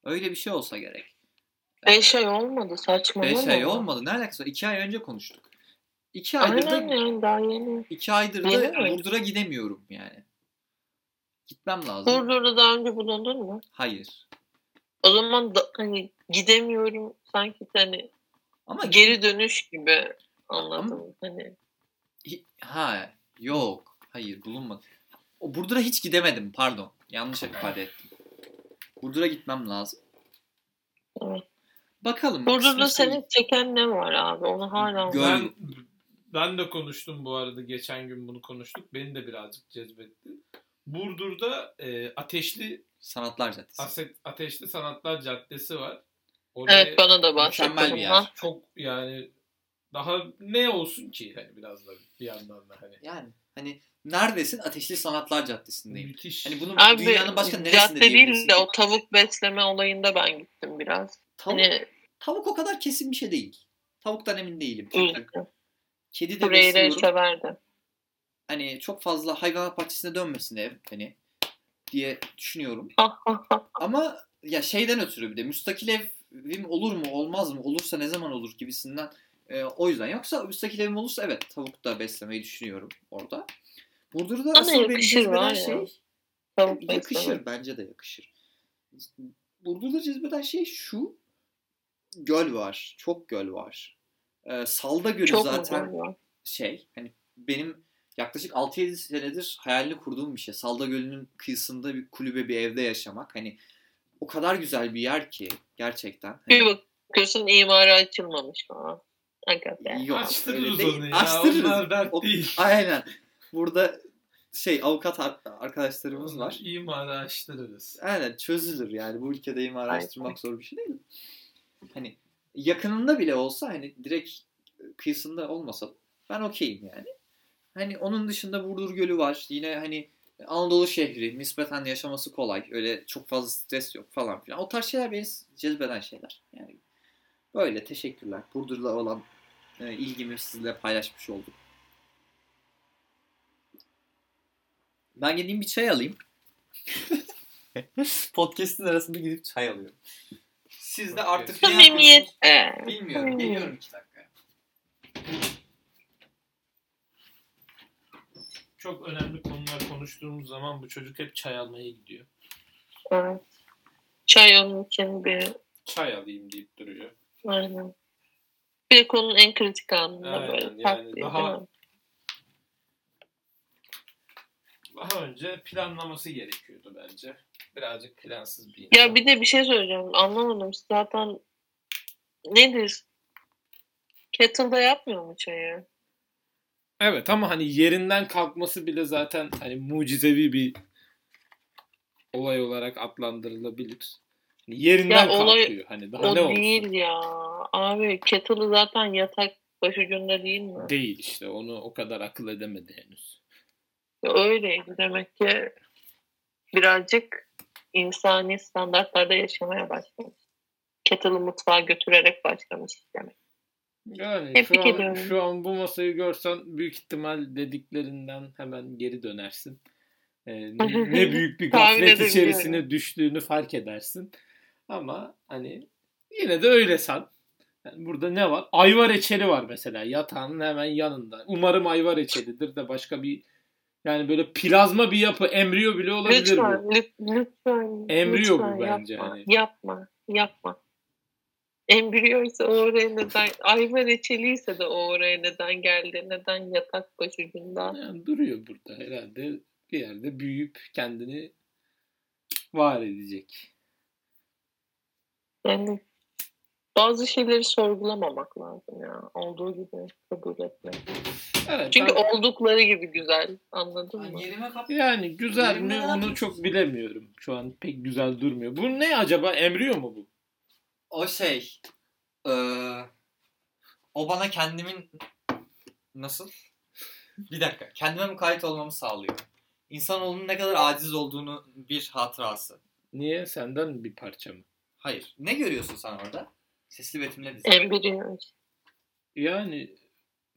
Speaker 1: Öyle bir şey olsa gerek.
Speaker 3: Beş ay olmadı saçmalama.
Speaker 1: 5 ay E, şey olmadı. Ne alakası var? 2 ay önce konuştuk. 2 aydır
Speaker 3: Aynen
Speaker 1: da,
Speaker 3: yani daha yeni.
Speaker 1: iki aydır
Speaker 3: Yeni
Speaker 1: da
Speaker 3: mi?
Speaker 1: Burdur'a gidemiyorum yani. Gitmem lazım.
Speaker 3: Burdur'da daha önce bulundun mu?
Speaker 1: Hayır.
Speaker 3: O zaman da, hani gidemiyorum sanki hani
Speaker 1: Ama
Speaker 3: geri dönüş gibi anladım. Hani
Speaker 1: Hi- Ha yok. Hayır bulunmadı. O Burdur'a hiç gidemedim pardon. Yanlış ifade ettim. Burdur'a gitmem lazım.
Speaker 3: Evet.
Speaker 1: Bakalım.
Speaker 3: Burdur'da
Speaker 1: kısmetse-
Speaker 3: seni çeken ne var abi? Onu hala
Speaker 1: Gö-
Speaker 2: Ben, ben de konuştum bu arada geçen gün bunu konuştuk. Beni de birazcık cezbetti. Burdur'da e, ateşli
Speaker 1: Sanatlar Caddesi.
Speaker 2: Ase- ateşli sanatlar caddesi var. Oraya
Speaker 3: Evet bana da
Speaker 1: Mükemmel
Speaker 3: bahsettin.
Speaker 1: bir
Speaker 3: Ha,
Speaker 1: yer.
Speaker 2: çok yani daha ne olsun ki hani biraz da bir yandan da hani
Speaker 1: Yani hani neredesin? Ateşli Sanatlar Caddesi'ndeyim.
Speaker 2: müthiş.
Speaker 1: Hani
Speaker 2: <laughs>
Speaker 1: bunu
Speaker 3: Abi
Speaker 1: dünyanın başka neresinde
Speaker 3: cadde değil
Speaker 1: diyebilirsin?
Speaker 3: de o tavuk besleme olayında ben gittim biraz.
Speaker 1: tavuk,
Speaker 3: Hani
Speaker 1: tavuk o kadar kesin bir şey değil. Tavuktan emin değilim. çünkü.
Speaker 3: üzgün.
Speaker 1: Kedi de
Speaker 3: Burayı
Speaker 1: besliyorum.
Speaker 3: severdim. <laughs>
Speaker 1: Hani çok fazla hayvanat bahçesine dönmesin ev hani diye düşünüyorum.
Speaker 3: Ah,
Speaker 1: Ama ya şeyden ötürü bir de müstakil evim olur mu olmaz mı olursa ne zaman olur gibisinden e, o yüzden yoksa müstakil evim olursa evet tavuk da beslemeyi düşünüyorum orada. Burdur'da
Speaker 3: Ama
Speaker 1: asıl beni
Speaker 3: yakışır var
Speaker 1: cezbeden
Speaker 3: ya.
Speaker 1: şey
Speaker 3: Tavuk besleme.
Speaker 1: yakışır bence de yakışır. Burdur'da cezbeden şey şu göl var çok göl var. E, Salda Gölü
Speaker 3: Çok
Speaker 1: zaten
Speaker 3: güzel ya.
Speaker 1: şey hani benim yaklaşık 6-7 senedir hayalini kurduğum bir şey. Salda Gölü'nün kıyısında bir kulübe bir evde yaşamak hani o kadar güzel bir yer ki gerçekten. Hani,
Speaker 3: Bir bakıyorsun imara açılmamış falan. Hakikaten.
Speaker 1: Yok, öyle
Speaker 2: Açtırırız
Speaker 1: değil.
Speaker 2: onu ya.
Speaker 1: Açtırırız.
Speaker 2: Onlar dert
Speaker 1: O-
Speaker 2: değil.
Speaker 1: Aynen. Burada şey avukat ar- arkadaşlarımız <laughs> var.
Speaker 2: İmarı açtırırız.
Speaker 1: Aynen çözülür yani bu ülkede imar araştırmak zor bir şey değil mi? Hani yakınında bile olsa hani direkt kıyısında olmasa da ben okeyim yani. Hani onun dışında Burdur Gölü var. Yine hani Anadolu şehri nispeten yaşaması kolay. Öyle çok fazla stres yok falan filan. O tarz şeyler beni cezbeden şeyler. Yani böyle teşekkürler. Burdur'la olan e, ilgimi sizinle paylaşmış oldum. Ben gideyim bir
Speaker 5: <laughs>
Speaker 1: çay alayım. Podcast'in arasında gidip çay alıyorum. Siz de artık ne
Speaker 3: Samimiyet.
Speaker 1: yapıyorsunuz?
Speaker 3: Ee,
Speaker 1: Bilmiyorum. Geliyorum iki dakika.
Speaker 2: Çok önemli konular konuştuğumuz zaman bu çocuk hep çay almaya gidiyor.
Speaker 3: evet. Çay onun için bir
Speaker 2: Çay alayım deyip duruyor.
Speaker 3: aynen. Bir konunun en kritik anında
Speaker 2: Aynen,
Speaker 3: böyle
Speaker 2: yani
Speaker 3: tatlı, değil
Speaker 2: daha-
Speaker 3: mi?
Speaker 2: Daha önce planlaması gerekiyordu bence. Birazcık plansız bir insan.
Speaker 3: Ya bir de bir şey söyleyeceğim. Anlamadım. Siz Zaten nedir? Kettle'da yapmıyor mu şey çayı?
Speaker 2: Evet ama hani yerinden kalkması bile zaten hani mucizevi bir olay olarak adlandırılabilir. Hani yerinden
Speaker 3: Ya olay-
Speaker 2: kalkıyor. Hani daha
Speaker 3: o
Speaker 2: ne olsun?
Speaker 3: değil ya. Abi kettle'ı zaten yatak başucunda değil mi?
Speaker 2: Değil işte. Onu o kadar akıl edemedi henüz.
Speaker 3: Ya Öyleydi demek ki birazcık insani standartlarda yaşamaya başlamış. Kettle'ı mutfağa götürerek başlamış demek.
Speaker 2: Yani
Speaker 3: Tebrik
Speaker 2: şu an,
Speaker 3: ediyorum.
Speaker 2: şu an bu masayı görsen büyük ihtimal dediklerinden hemen geri dönersin.
Speaker 3: <laughs>
Speaker 2: Ee, ne, ne büyük bir
Speaker 3: Tahmin
Speaker 2: gaflet
Speaker 3: edebiliyorum.
Speaker 2: içerisine düştüğünü fark edersin. Ama hani yine de öyle san. Yani burada ne var? Ayva reçeli var mesela yatağının hemen yanında. Umarım ayva reçelidir de başka bir Yani böyle plazma bir yapı, embriyo bile olabilir bu.
Speaker 3: Lütfen, lüt- lütfen.
Speaker 2: Embriyo bu
Speaker 3: lütfen
Speaker 2: bence
Speaker 3: Yapma,
Speaker 2: hani.
Speaker 3: yapma, yapma. Embriyo ise o oraya neden, ayva reçeliyse de o oraya neden geldi, neden yatak başucunda.
Speaker 2: Yani duruyor burada herhalde bir yerde büyüyüp kendini var edecek.
Speaker 3: Yani bazı şeyleri sorgulamamak lazım ya. Olduğu gibi kabul etmek.
Speaker 2: Evet,
Speaker 3: Çünkü
Speaker 2: ben-
Speaker 3: oldukları gibi güzel, anladın mı?
Speaker 1: Hani-
Speaker 5: Yerime kap.
Speaker 2: yani güzel mi
Speaker 5: Yerine
Speaker 2: onu
Speaker 5: atıyorsun.
Speaker 2: çok bilemiyorum. Şu an pek güzel durmuyor. Bu ne acaba? Embriyo mu bu?
Speaker 1: O şey. eee, o bana kendimin nasıl? Bir dakika. Kendime mukayyet olmamı sağlıyor. İnsanoğlunun ne kadar aciz olduğunu bir hatırası.
Speaker 2: Niye senden bir parça mı?
Speaker 1: Hayır. Ne görüyorsun sen orada? Sesli betimle dizi.
Speaker 3: Embriyo.
Speaker 2: Yani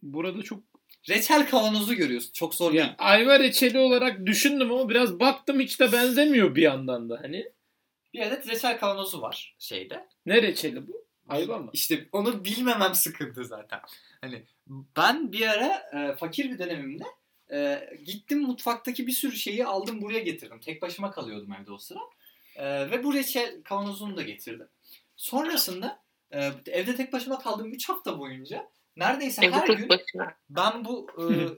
Speaker 2: burada çok
Speaker 1: Reçel kavanozu görüyorsun. Çok zor değil.
Speaker 2: Ya ayva reçeli olarak düşündüm ama biraz baktım hiç de benzemiyor bir yandan da. Hani
Speaker 1: Bir adet reçel kavanozu var şeyde.
Speaker 2: ne reçeli bu? Ayva mı?
Speaker 1: İşte onu bilmemem sıkıntı zaten. Hani ben bir ara e, fakir bir dönemimde e, gittim mutfaktaki bir sürü şeyi aldım buraya getirdim. Tek başıma kalıyordum evde o sıra. E, ve bu reçel kavanozunu da getirdim. Sonrasında e, evde tek başıma kaldığım 3 hafta boyunca neredeyse her
Speaker 3: Evde
Speaker 1: gün
Speaker 3: tek başına.
Speaker 1: ben bu e,
Speaker 2: <laughs>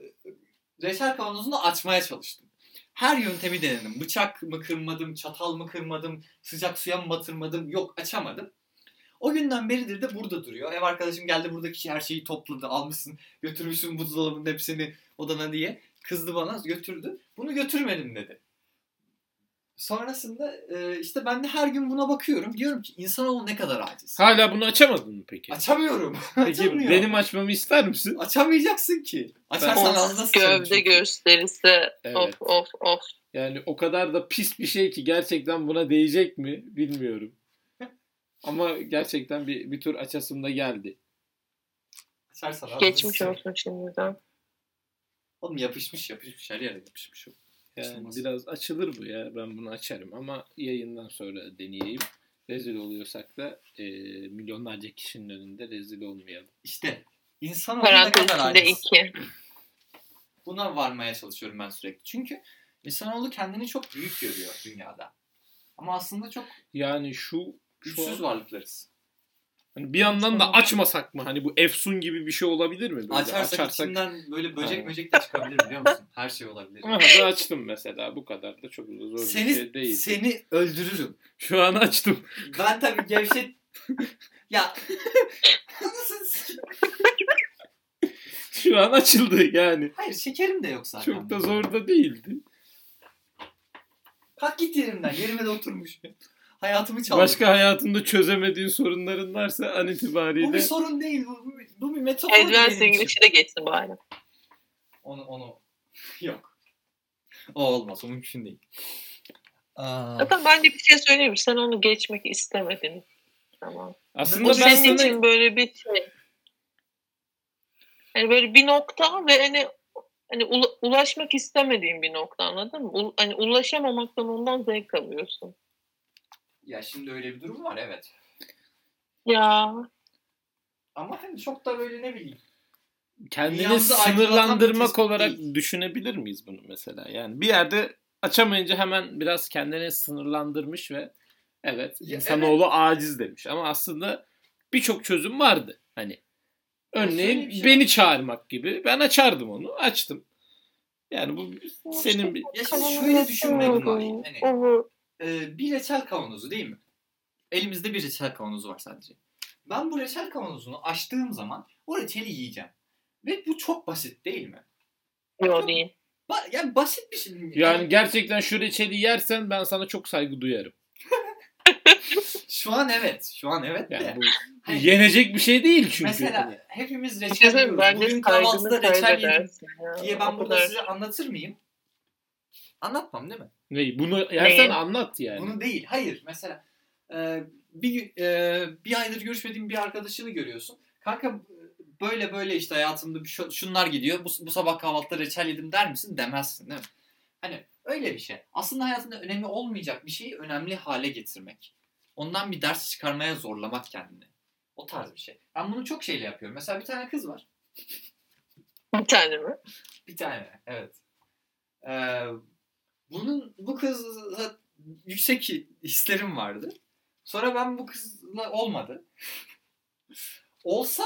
Speaker 1: reçel kavanozunu açmaya çalıştım. Her yöntemi denedim. Bıçak mı kırmadım, çatal mı kırmadım, sıcak suya mı batırmadım. Yok açamadım. O günden beridir de burada duruyor. Ev arkadaşım geldi buradaki her şeyi topladı. Almışsın, götürmüşsün buzdolabının hepsini odana diye. Kızdı bana, götürdü. Bunu götürmedim dedi. Sonrasında e, işte ben de her gün buna bakıyorum. Diyorum ki insanoğlu ne kadar aciz.
Speaker 2: Hala bunu açamadın mı peki?
Speaker 1: Açamıyorum.
Speaker 2: Peki
Speaker 1: açamıyorum.
Speaker 2: benim açmamı ister misin?
Speaker 1: Açamayacaksın ki. Açarsan ağzına
Speaker 3: Of,
Speaker 1: sıçarım
Speaker 3: gövde
Speaker 1: çünkü.
Speaker 3: gösterisi.
Speaker 2: Evet.
Speaker 3: Of of of.
Speaker 2: Yani o kadar da pis bir şey ki gerçekten buna değecek mi bilmiyorum. Ama gerçekten bir, bir tur açasım da geldi.
Speaker 1: Açarsan ağzını
Speaker 3: Geçmiş
Speaker 1: sıçarım.
Speaker 3: olsun şimdiden.
Speaker 1: Oğlum yapışmış yapışmış her yere yapışmış. o.
Speaker 2: Yani
Speaker 1: Açılmaz.
Speaker 2: biraz açılır bu ya. Ben bunu açarım ama yayından sonra deneyeyim. Rezil oluyorsak da e, milyonlarca kişinin önünde rezil olmayalım.
Speaker 1: İşte insan ne
Speaker 3: Parantez
Speaker 1: kadar
Speaker 3: içinde
Speaker 1: aciz.
Speaker 3: iki.
Speaker 1: Buna varmaya çalışıyorum ben sürekli. Çünkü insanoğlu kendini çok büyük görüyor dünyada. Ama aslında çok
Speaker 2: Yani şu şu an-
Speaker 1: güçsüz varlıklarız.
Speaker 2: Hani bir yandan da açmasak mı? Hani bu Efsun gibi bir şey olabilir mi? Böyle
Speaker 1: Açarsak,
Speaker 2: <laughs>
Speaker 1: içinden böyle böcek böcek de çıkabilir biliyor musun? Her şey olabilir.
Speaker 2: Aha da açtım mesela. Bu kadar da çok da zor bir şey
Speaker 1: seni
Speaker 2: değil.
Speaker 1: seni öldürürüm.
Speaker 2: Şu an açtım. <laughs>
Speaker 1: Ben tabii gevşet ya <laughs> Anasını s-
Speaker 2: Şu an açıldı yani.
Speaker 1: Hayır şekerim de yok zaten.
Speaker 2: Çok da zor da değildi.
Speaker 1: Kalk git yerimden. Yerime de oturmuş. Hayatımı çaldın.
Speaker 2: Başka hayatında çözemediğin sorunların varsa an
Speaker 1: Bu bir
Speaker 2: itibariyle
Speaker 1: sorun değil. Bu, bu, bir- bu bir metafor
Speaker 3: Advanced
Speaker 1: benim için.
Speaker 3: English'i de geçsin bari.
Speaker 1: Onu, onu. Yok. O olmaz. O mümkün değil. Aa,
Speaker 3: Zaten ben de bir şey söyleyeyim. mi? Sen onu geçmek istemedin. Tamam.
Speaker 2: aslında
Speaker 3: Bu
Speaker 1: şey
Speaker 2: ben
Speaker 3: senin
Speaker 2: sana
Speaker 3: için böyle bir şey. Yani böyle bir nokta ve hani hani ula- ulaşmak istemediğin bir nokta anladın mı? U- hani ulaşamamaktan ondan zevk alıyorsun.
Speaker 1: ya şimdi öyle bir durum var evet.
Speaker 3: Ya
Speaker 1: Ama hani çok da böyle ne bileyim.
Speaker 2: kendini
Speaker 1: Dünyamızı aydınlatan bir
Speaker 2: sınırlandırmak
Speaker 1: tespit
Speaker 2: olarak
Speaker 1: değil.
Speaker 2: düşünebilir miyiz bunu mesela? Yani bir yerde açamayınca hemen biraz kendini sınırlandırmış ve evet
Speaker 1: Ya
Speaker 2: insanoğlu aciz demiş ama aslında birçok çözüm vardı. Hani
Speaker 1: şöyle
Speaker 2: örneğin
Speaker 1: bir şey
Speaker 2: beni çağırmak gibi ben açardım onu açtım. Yani bu senin bir
Speaker 1: Ya şimdi şöyle düşünmedim var. Hani,
Speaker 3: Olur.
Speaker 1: e, bir reçel kavanozu değil mi? Elimizde bir reçel kavanozu var sadece. Ben bu reçel kavanozunu açtığım zaman o reçeli yiyeceğim. Ve bu çok basit değil mi?
Speaker 3: Yok değil.
Speaker 1: Ba- yani basit bir şey.
Speaker 2: yani gerçekten şu reçeli yersen ben sana çok saygı duyarım.
Speaker 1: şu an evet. Şu an evet de. <laughs>
Speaker 2: Yani bu
Speaker 1: Hani-
Speaker 2: yenecek bir şey değil çünkü.
Speaker 1: Mesela
Speaker 2: Hani
Speaker 1: hepimiz
Speaker 3: Bir şey
Speaker 1: reçel
Speaker 3: söyleyeyim mi?
Speaker 1: yiyoruz.
Speaker 3: Bence
Speaker 1: Bugün
Speaker 3: saygını
Speaker 1: kahvaltıda reçel yedim
Speaker 3: kaybedersin ya.
Speaker 1: diye
Speaker 3: O
Speaker 1: ben burada
Speaker 3: kadar.
Speaker 1: size anlatır mıyım? Anlatmam değil mi?
Speaker 2: ne, bunu yersen
Speaker 3: Ne?
Speaker 2: anlat yani.
Speaker 1: Bunu değil. Hayır. Mesela e, bir e, bir aydır görüşmediğin bir arkadaşını görüyorsun. Kanka böyle böyle işte hayatımda bir şu- şunlar gidiyor. Bu, bu sabah kahvaltıda reçel yedim der misin? Demezsin değil mi? Hani öyle bir şey. Aslında hayatında önemi olmayacak bir şeyi önemli hale getirmek. Ondan bir ders çıkarmaya zorlamak kendini. O tarz bir şey. Ben bunu çok şeyle yapıyorum. Mesela bir tane kız var. <laughs>
Speaker 3: Bir tane mi?
Speaker 1: Bir tane evet. Ee, Ee, bunun bu kızla yüksek hislerim vardı. Sonra ben bu kızla olmadı. <laughs> Olsa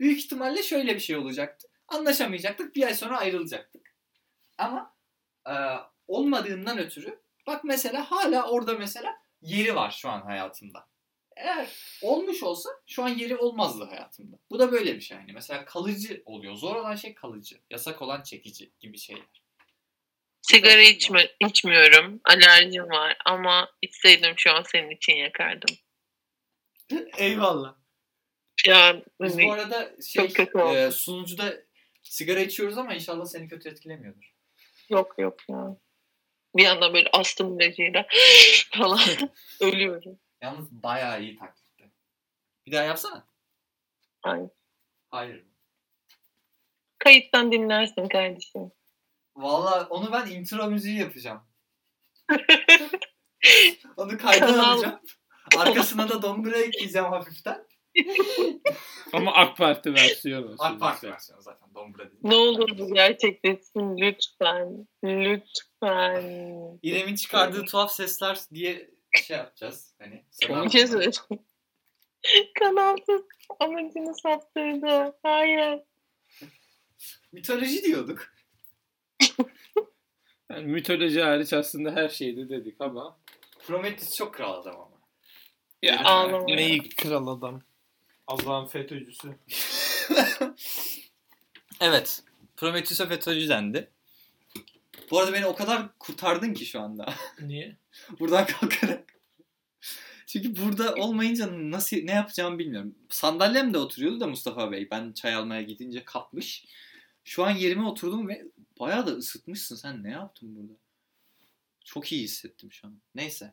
Speaker 1: büyük ihtimalle şöyle bir şey olacaktı. Anlaşamayacaktık. Bir ay sonra ayrılacaktık. Ama e, olmadığından ötürü bak mesela hala orada mesela yeri var şu an hayatımda. Eğer olmuş olsa şu an yeri olmazdı hayatımda. Bu da böyle bir şey yani. Mesela kalıcı oluyor. Zor olan şey kalıcı. Yasak olan çekici gibi şeyler.
Speaker 3: Sigara içme, içmiyorum. Alerjim var ama içseydim şu an senin için yakardım.
Speaker 1: <laughs> Eyvallah.
Speaker 3: Ya
Speaker 1: Biz bu arada şey,
Speaker 3: Çok kötü oldu.
Speaker 1: e, sunucuda sigara içiyoruz ama inşallah seni kötü etkilemiyordur.
Speaker 3: yok yok ya. Bir yandan böyle astım ilacıyla <gasps> falan ölüyorum.
Speaker 1: Yalnız bayağı iyi taklitti. Bir daha yapsana.
Speaker 3: Ay.
Speaker 1: Hayır.
Speaker 3: Kayıttan dinlersin kardeşim.
Speaker 1: Valla onu ben intro müziği
Speaker 3: <laughs>
Speaker 1: yapacağım. onu kaydan
Speaker 3: Kanal-
Speaker 1: alacağım. Arkasına da dombura ekleyeceğim hafiften.
Speaker 6: Ama AK Parti versiyonu.
Speaker 1: <laughs> AK Parti
Speaker 6: sözlükte.
Speaker 1: versiyonu zaten dombura değil.
Speaker 3: Ne olur bu gerçekleşsin lütfen. Lütfen.
Speaker 1: İrem'in çıkardığı tuhaf sesler diye şey yapacağız. Hani
Speaker 3: Bir şey söyleyeceğim. <laughs> Kanalsız amacını saptırdı. Hayır.
Speaker 1: Mitoloji diyorduk.
Speaker 6: Yani mitoloji hariç aslında her şeyde dedik ama.
Speaker 1: Prometheus çok kral adam ama.
Speaker 6: Ya,
Speaker 3: Ağlama.
Speaker 6: neyi kral adam.
Speaker 4: Allah'ın FETÖ'cüsü.
Speaker 1: Evet. Prometheus'a FETÖ'cü dendi. Bu arada beni o kadar kurtardın ki şu anda.
Speaker 4: Niye?
Speaker 1: Buradan <laughs> kalkarak. Çünkü burada olmayınca nasıl ne yapacağımı bilmiyorum. Sandalyem de oturuyordu da Mustafa Bey. Ben çay almaya gidince kapmış. Şu an yerime oturdum ve bayağı da ısıtmışsın. Sen ne yaptın burada? Çok iyi hissettim şu an. Neyse.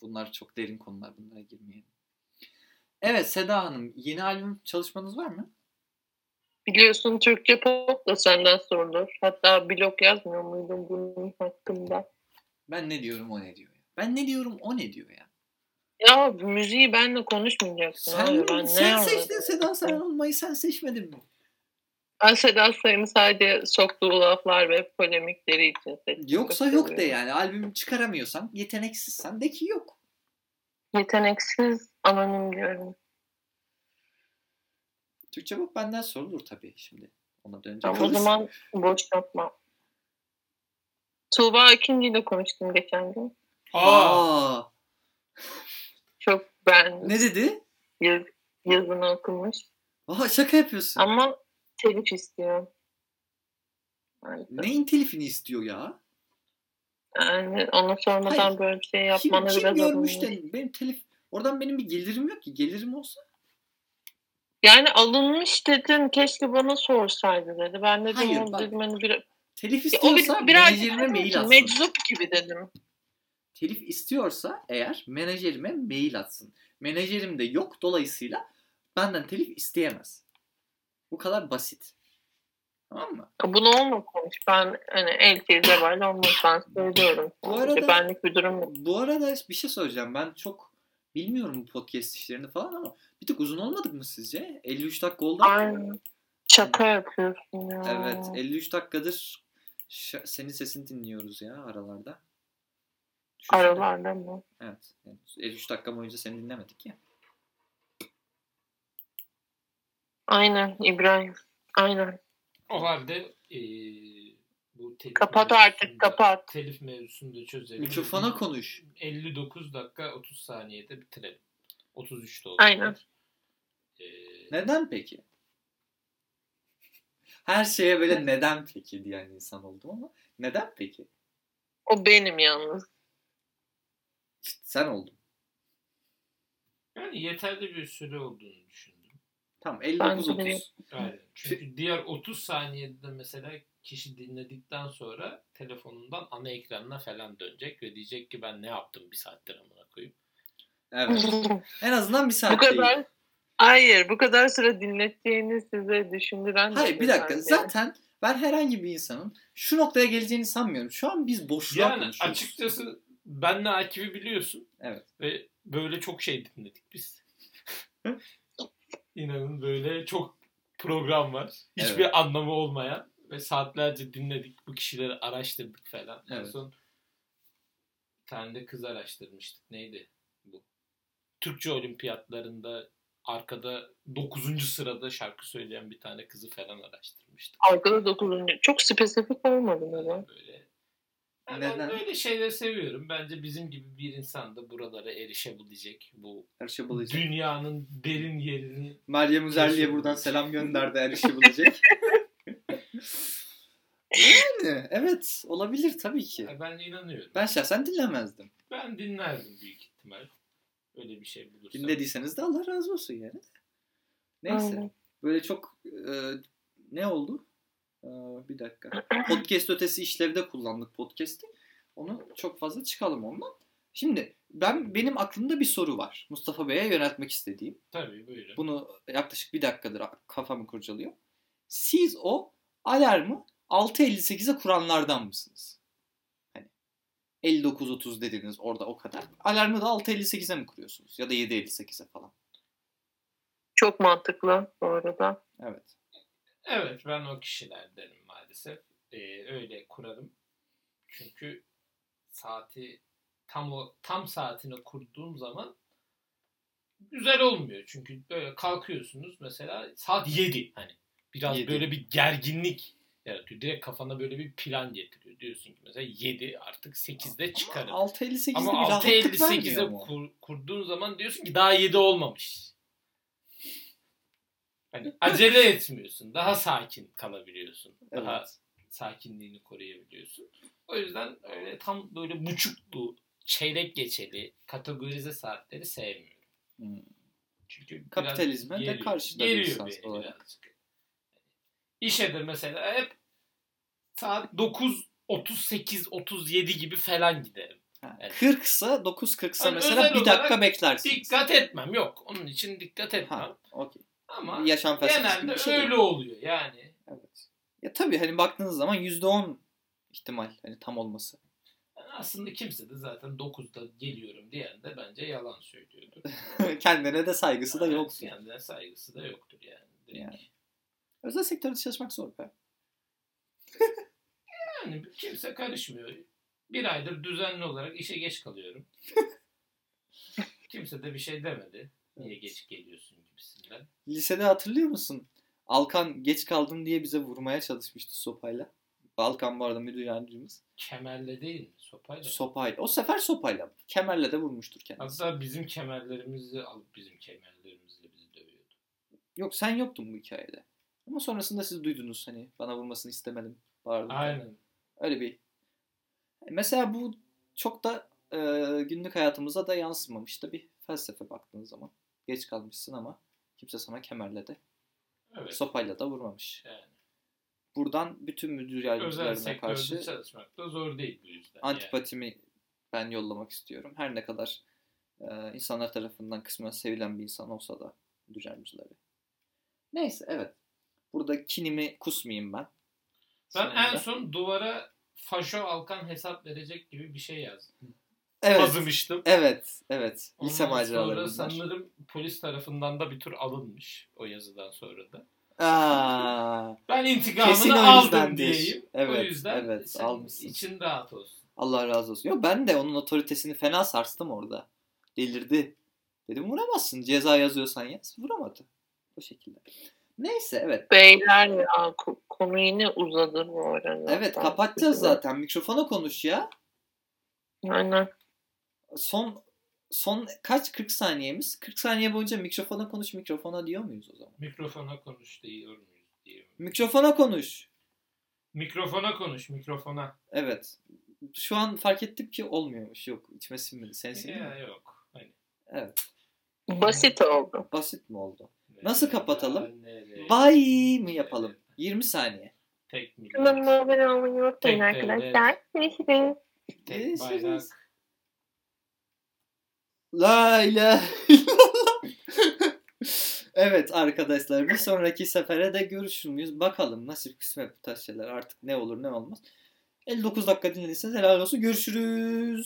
Speaker 1: Bunlar çok derin konular. Bunlara girmeyelim. Evet Seda Hanım. Yeni albüm çalışmanız var mı?
Speaker 3: Biliyorsun Türkçe pop da senden sorulur. Hatta blog yazmıyor muydun bunun hakkında?
Speaker 1: Ben ne diyorum o ne diyor ya. Ben ne diyorum o ne diyor ya.
Speaker 3: Ya müziği benle konuşmayacaksın.
Speaker 1: Sen,
Speaker 3: abi. Ben ne
Speaker 1: sen
Speaker 3: anladım?
Speaker 1: seçtin Seda Sayan olmayı sen seçmedin mi?
Speaker 3: Ben Sedat Sayın'ın sadece soktuğu laflar ve polemikleri için seçtim.
Speaker 1: Yoksa
Speaker 3: Çok
Speaker 1: yok de
Speaker 3: seviyorum.
Speaker 1: yani. Albüm çıkaramıyorsan, yeteneksizsen de ki yok.
Speaker 3: Yeteneksiz anonim diyorum.
Speaker 1: Türkçe bak benden sorulur tabii şimdi. Ona dönecek
Speaker 3: Tamam, o
Speaker 1: olursak.
Speaker 3: zaman boş yapma. Tuğba Akinci ile konuştum geçen gün.
Speaker 4: Aa!
Speaker 1: Aa,
Speaker 3: Çok ben
Speaker 1: ne dedi?
Speaker 3: yaz, yazını okumuş.
Speaker 1: Aa, şaka yapıyorsun.
Speaker 3: Ama telif istiyor. Yani-
Speaker 1: Neyin telifini istiyor ya?
Speaker 3: Yani ona sormadan
Speaker 1: Hayır.
Speaker 3: böyle bir şey
Speaker 1: Kim,
Speaker 3: yapmanı
Speaker 1: kim
Speaker 3: biraz
Speaker 1: görmüş
Speaker 3: alınmış.
Speaker 1: de benim telif Oradan benim bir gelirim yok ki. Gelirim olsa.
Speaker 3: Yani alınmış dedim keşke bana sorsaydı dedi. Ben dedim
Speaker 1: Hayır,
Speaker 3: o
Speaker 1: bak.
Speaker 3: dedim hani bir...
Speaker 1: Telif
Speaker 3: Ya o bir-
Speaker 1: istiyorsa
Speaker 3: biraz
Speaker 1: menajerime mail atsın.
Speaker 3: meczup gibi dedim.
Speaker 1: telif istiyorsa eğer menajerime mail atsın. Menajerim de yok dolayısıyla benden telif isteyemez. Bu kadar basit. Tamam mı?
Speaker 3: Bunu onunla konuş. Ben hani el teyze var olmaz ben söylüyorum.
Speaker 1: Bu
Speaker 3: Sadece
Speaker 1: arada-
Speaker 3: Benlik bir durum yok.
Speaker 1: Bu arada bir şey soracağım. Ben çok bilmiyorum bu podcast işlerini falan ama bir tık uzun olmadık mı sizce? 53 dakika oldu.
Speaker 3: Aynen. Şaka yapıyorsun ya.
Speaker 1: Evet, e, 53 dakikadır ş- senin sesini dinliyoruz ya aralarda. Düşünsene.
Speaker 3: Aralarda mı?
Speaker 1: Evet. Yani 53 dakika boyunca seni dinlemedik ya.
Speaker 3: Aynen İbrahim. Aynen.
Speaker 4: O halde e, bu telif
Speaker 3: Kapat
Speaker 4: mevzusunu
Speaker 3: artık
Speaker 4: da-
Speaker 3: kapat.
Speaker 4: Telif mevzusunu da çözelim.
Speaker 1: Mikrofona konuş.
Speaker 4: 59 dakika 30 saniyede bitirelim. 33 de olur.
Speaker 3: Aynen.
Speaker 4: Ee,
Speaker 1: Neden peki? Her şeye böyle neden peki diyen insan oldum ama neden peki?
Speaker 3: O benim yalnız.
Speaker 1: İşte sen oldun.
Speaker 4: Yani yeterli bir süre olduğunu düşündüm.
Speaker 1: Tamam
Speaker 3: Ben de
Speaker 1: 59-30.
Speaker 4: Aynen. Çünkü diğer 30 saniyede de mesela kişi dinledikten sonra telefonundan ana ekranına falan dönecek ve diyecek ki ben ne yaptım bir saattir amına koyayım.
Speaker 1: Evet. En azından bir saat
Speaker 3: bu kadar
Speaker 1: değil.
Speaker 3: Hayır, bu kadar süre dinlettiğini size düşündüren şey. de
Speaker 1: Hayır bir dakika.
Speaker 3: yani.
Speaker 1: Zaten ben herhangi bir insanın şu noktaya geleceğini sanmıyorum. Şu an biz boşluğa
Speaker 4: Yani
Speaker 1: konuşuyoruz.
Speaker 4: açıkçası benle Akif'i biliyorsun.
Speaker 1: Evet.
Speaker 4: Ve böyle çok şey dinledik
Speaker 1: <laughs>
Speaker 4: biz. İnanın böyle çok program var. Hiçbir anlamı olmayan
Speaker 2: Ve saatlerce dinledik. Bu kişileri araştırdık falan. En
Speaker 1: Evet.
Speaker 2: son bir tane de kız araştırmıştık. Neydi bu? Türkçe olimpiyatlarında arkada 9. sırada şarkı söyleyen bir tane kızı falan araştırmıştık.
Speaker 3: Arkada dokuzuncu. Çok spesifik olmadı mı lan?
Speaker 2: Böyle. Yani ben
Speaker 1: Neden?
Speaker 2: böyle şeyleri seviyorum. Bence bizim gibi bir insan da buralara erişebilecek. Bu
Speaker 1: Erişebilecek.
Speaker 2: dünyanın derin yerini
Speaker 1: Meryem Üzerli'ye buradan selam gönderdi erişebilecek. yani evet olabilir tabii ki.
Speaker 2: Ya ben inanıyorum.
Speaker 1: Ben şahsen dinlemezdim.
Speaker 2: Ben dinlerdim büyük ihtimal. Öyle bir şey bulursam.
Speaker 1: Dinlediyseniz de Allah razı olsun yani. Neyse.
Speaker 3: Aynen.
Speaker 1: Böyle çok e, ne oldu? E, bir dakika. Podcast ötesi işlevde kullandık podcast'i. Onu çok fazla çıkalım ondan. Şimdi ben benim aklımda bir soru var. Mustafa Bey'e yöneltmek istediğim.
Speaker 2: Tabii buyurun.
Speaker 1: Bunu yaklaşık bir dakikadır kafamı kurcalıyor. Siz o alarmı 6.58'e kuranlardan mısınız? Hani 59.30 dediniz orada o kadar. Alarmı da 6.58'e mi kuruyorsunuz? Ya da 7.58'e falan.
Speaker 3: Çok mantıklı bu arada.
Speaker 1: Evet.
Speaker 2: Evet ben o kişilerdenim maalesef. Ee, öyle kurarım. Çünkü saati tam o tam saatine kurduğum zaman güzel olmuyor. Çünkü böyle kalkıyorsunuz mesela saat 7 hani biraz
Speaker 1: Yedi.
Speaker 2: böyle bir gerginlik yaratıyor. Direkt kafana böyle bir plan getiriyor. Diyorsun ki mesela 7 artık 8'de çıkarım.
Speaker 1: Ama 6.58'de
Speaker 2: Ama
Speaker 1: bir rahatlık vermiyor
Speaker 2: 6.58'e
Speaker 1: mu?
Speaker 2: kur, kurduğun zaman diyorsun ki daha 7 olmamış.
Speaker 1: <laughs>
Speaker 2: Hani acele etmiyorsun. Daha sakin kalabiliyorsun. Daha
Speaker 1: Evet.
Speaker 2: sakinliğini koruyabiliyorsun. O yüzden öyle tam böyle buçuklu, çeyrek geçeli, kategorize saatleri sevmiyorum.
Speaker 1: Hmm.
Speaker 2: Çünkü biraz
Speaker 1: Kapitalizme de
Speaker 2: geriyor.
Speaker 1: karşı da bir
Speaker 2: Geriyor
Speaker 1: insan
Speaker 2: beni
Speaker 1: olarak.
Speaker 2: birazcık. İşe de mesela hep saat 9 38 37 gibi falan giderim.
Speaker 1: Ha,
Speaker 2: Evet.
Speaker 1: 40 ise 9.40 ise
Speaker 2: Hani
Speaker 1: mesela
Speaker 2: özel
Speaker 1: bir dakika
Speaker 2: olarak
Speaker 1: beklersiniz.
Speaker 2: Dikkat etmem yok. Onun için dikkat etmem.
Speaker 1: Ha, okey.
Speaker 2: Ama
Speaker 1: Yaşam felsefesi gibi
Speaker 2: genelde
Speaker 1: bir şey. değil.
Speaker 2: öyle oluyor yani.
Speaker 1: Evet. Ya tabii hani baktığınız zaman %10 ihtimal hani tam olması. <laughs>
Speaker 2: Yani aslında kimse de zaten 9'da geliyorum diyen de bence yalan söylüyordur.
Speaker 1: Kendine de saygısı da
Speaker 2: Yani
Speaker 1: yok.
Speaker 2: Kendine saygısı da yoktur yani. Direkt.
Speaker 1: Yani. Özel sektörde çalışmak zor be.
Speaker 2: Yani kimse karışmıyor. Bir aydır düzenli olarak işe geç
Speaker 1: <laughs>
Speaker 2: kalıyorum. kimse de bir şey demedi. Niye geç geliyorsun gibisinden.
Speaker 1: Lisede hatırlıyor musun? Alkan geç kaldım diye bize vurmaya çalışmıştı sopayla. Alkan bu arada müdür yardımcımız.
Speaker 2: Kemerle değil mi? Sopayla. mı?
Speaker 1: Sopayla. O sefer sopayla. Kemerle de vurmuştur kendisi.
Speaker 2: Hatta bizim kemerlerimizi alıp bizim kemerlerimizle bizi dövüyordu.
Speaker 1: Yok sen yoktun bu hikayede. Ama sonrasında siz duydunuz hani bana vurmasını istemedim. Bağırdım.
Speaker 2: Aynen.
Speaker 1: Öyle bir. Mesela bu çok da e, günlük hayatımıza da yansımamış da bir felsefe baktığın zaman. Geç kalmışsın ama kimse sana kemerle de
Speaker 2: Evet.
Speaker 1: sopayla da vurmamış.
Speaker 2: Yani.
Speaker 1: Buradan bütün müdür
Speaker 2: özel
Speaker 1: yardımcılarına
Speaker 2: sektörde
Speaker 1: karşı
Speaker 2: çalışmak da zor değil bu yüzden.
Speaker 1: antipatimi ben yollamak istiyorum. Her ne kadar e, insanlar tarafından kısmen sevilen bir insan olsa da müdür yardımcıları. Neyse evet. Burada kinimi kusmayayım ben.
Speaker 2: Yani. Ben en
Speaker 1: Sonunda.
Speaker 2: son duvara faşo alkan hesap verecek gibi bir şey yazdım.
Speaker 1: Evet.
Speaker 2: Azımıştım.
Speaker 1: Evet, evet.
Speaker 2: Ondan
Speaker 1: Lise maceraları
Speaker 2: sonra
Speaker 1: bunlar.
Speaker 2: sanırım polis tarafından da bir tür alınmış o yazıdan sonra da.
Speaker 1: Aa,
Speaker 2: Ben intikamını
Speaker 1: kesin o
Speaker 2: aldım
Speaker 1: yüzdendir.
Speaker 2: diyeyim.
Speaker 1: Evet,
Speaker 2: o yüzden
Speaker 1: evet,
Speaker 2: senin
Speaker 1: almışsın.
Speaker 2: için rahat olsun.
Speaker 1: Allah razı olsun. Yok ben de onun otoritesini fena sarstım orada. Delirdi. Dedim vuramazsın. Ceza yazıyorsan yaz. Vuramadı. O şekilde. Neyse evet.
Speaker 3: Beyler ya ko- konu yine uzadı bu arada.
Speaker 1: Evet kapatacağız zaten. Mikrofona konuş ya.
Speaker 3: Aynen.
Speaker 1: Son son kaç 40 saniyemiz? 40 saniye boyunca mikrofona konuş mikrofona diyor muyuz o zaman?
Speaker 2: Mikrofona konuş diyor muyuz diyeyim.
Speaker 1: Mikrofona konuş.
Speaker 2: Mikrofona konuş mikrofona.
Speaker 1: Evet. Şu an fark ettim ki olmuyormuş. Yok içime sinmedi. Sen sinmedi mi?
Speaker 2: Ya, yok. Hani,
Speaker 3: Basit oldu.
Speaker 1: Basit mi oldu? Nasıl kapatalım?
Speaker 2: e, Nereye?
Speaker 1: Bye mi yapalım? 20 saniye.
Speaker 2: Tek millet,
Speaker 3: Kanalıma abone olmayı
Speaker 2: Tek
Speaker 3: unutmayın
Speaker 2: devlet.
Speaker 3: arkadaşlar. Görüşürüz.
Speaker 2: Tek bayrak.
Speaker 1: La ilahe illallah. <laughs> evet arkadaşlar bir sonraki sefere de görüşür müyüz? Bakalım nasip kısmet bu tarz şeyler artık ne olur ne olmaz. 59 dakika dinlediyseniz helal olsun. Görüşürüz.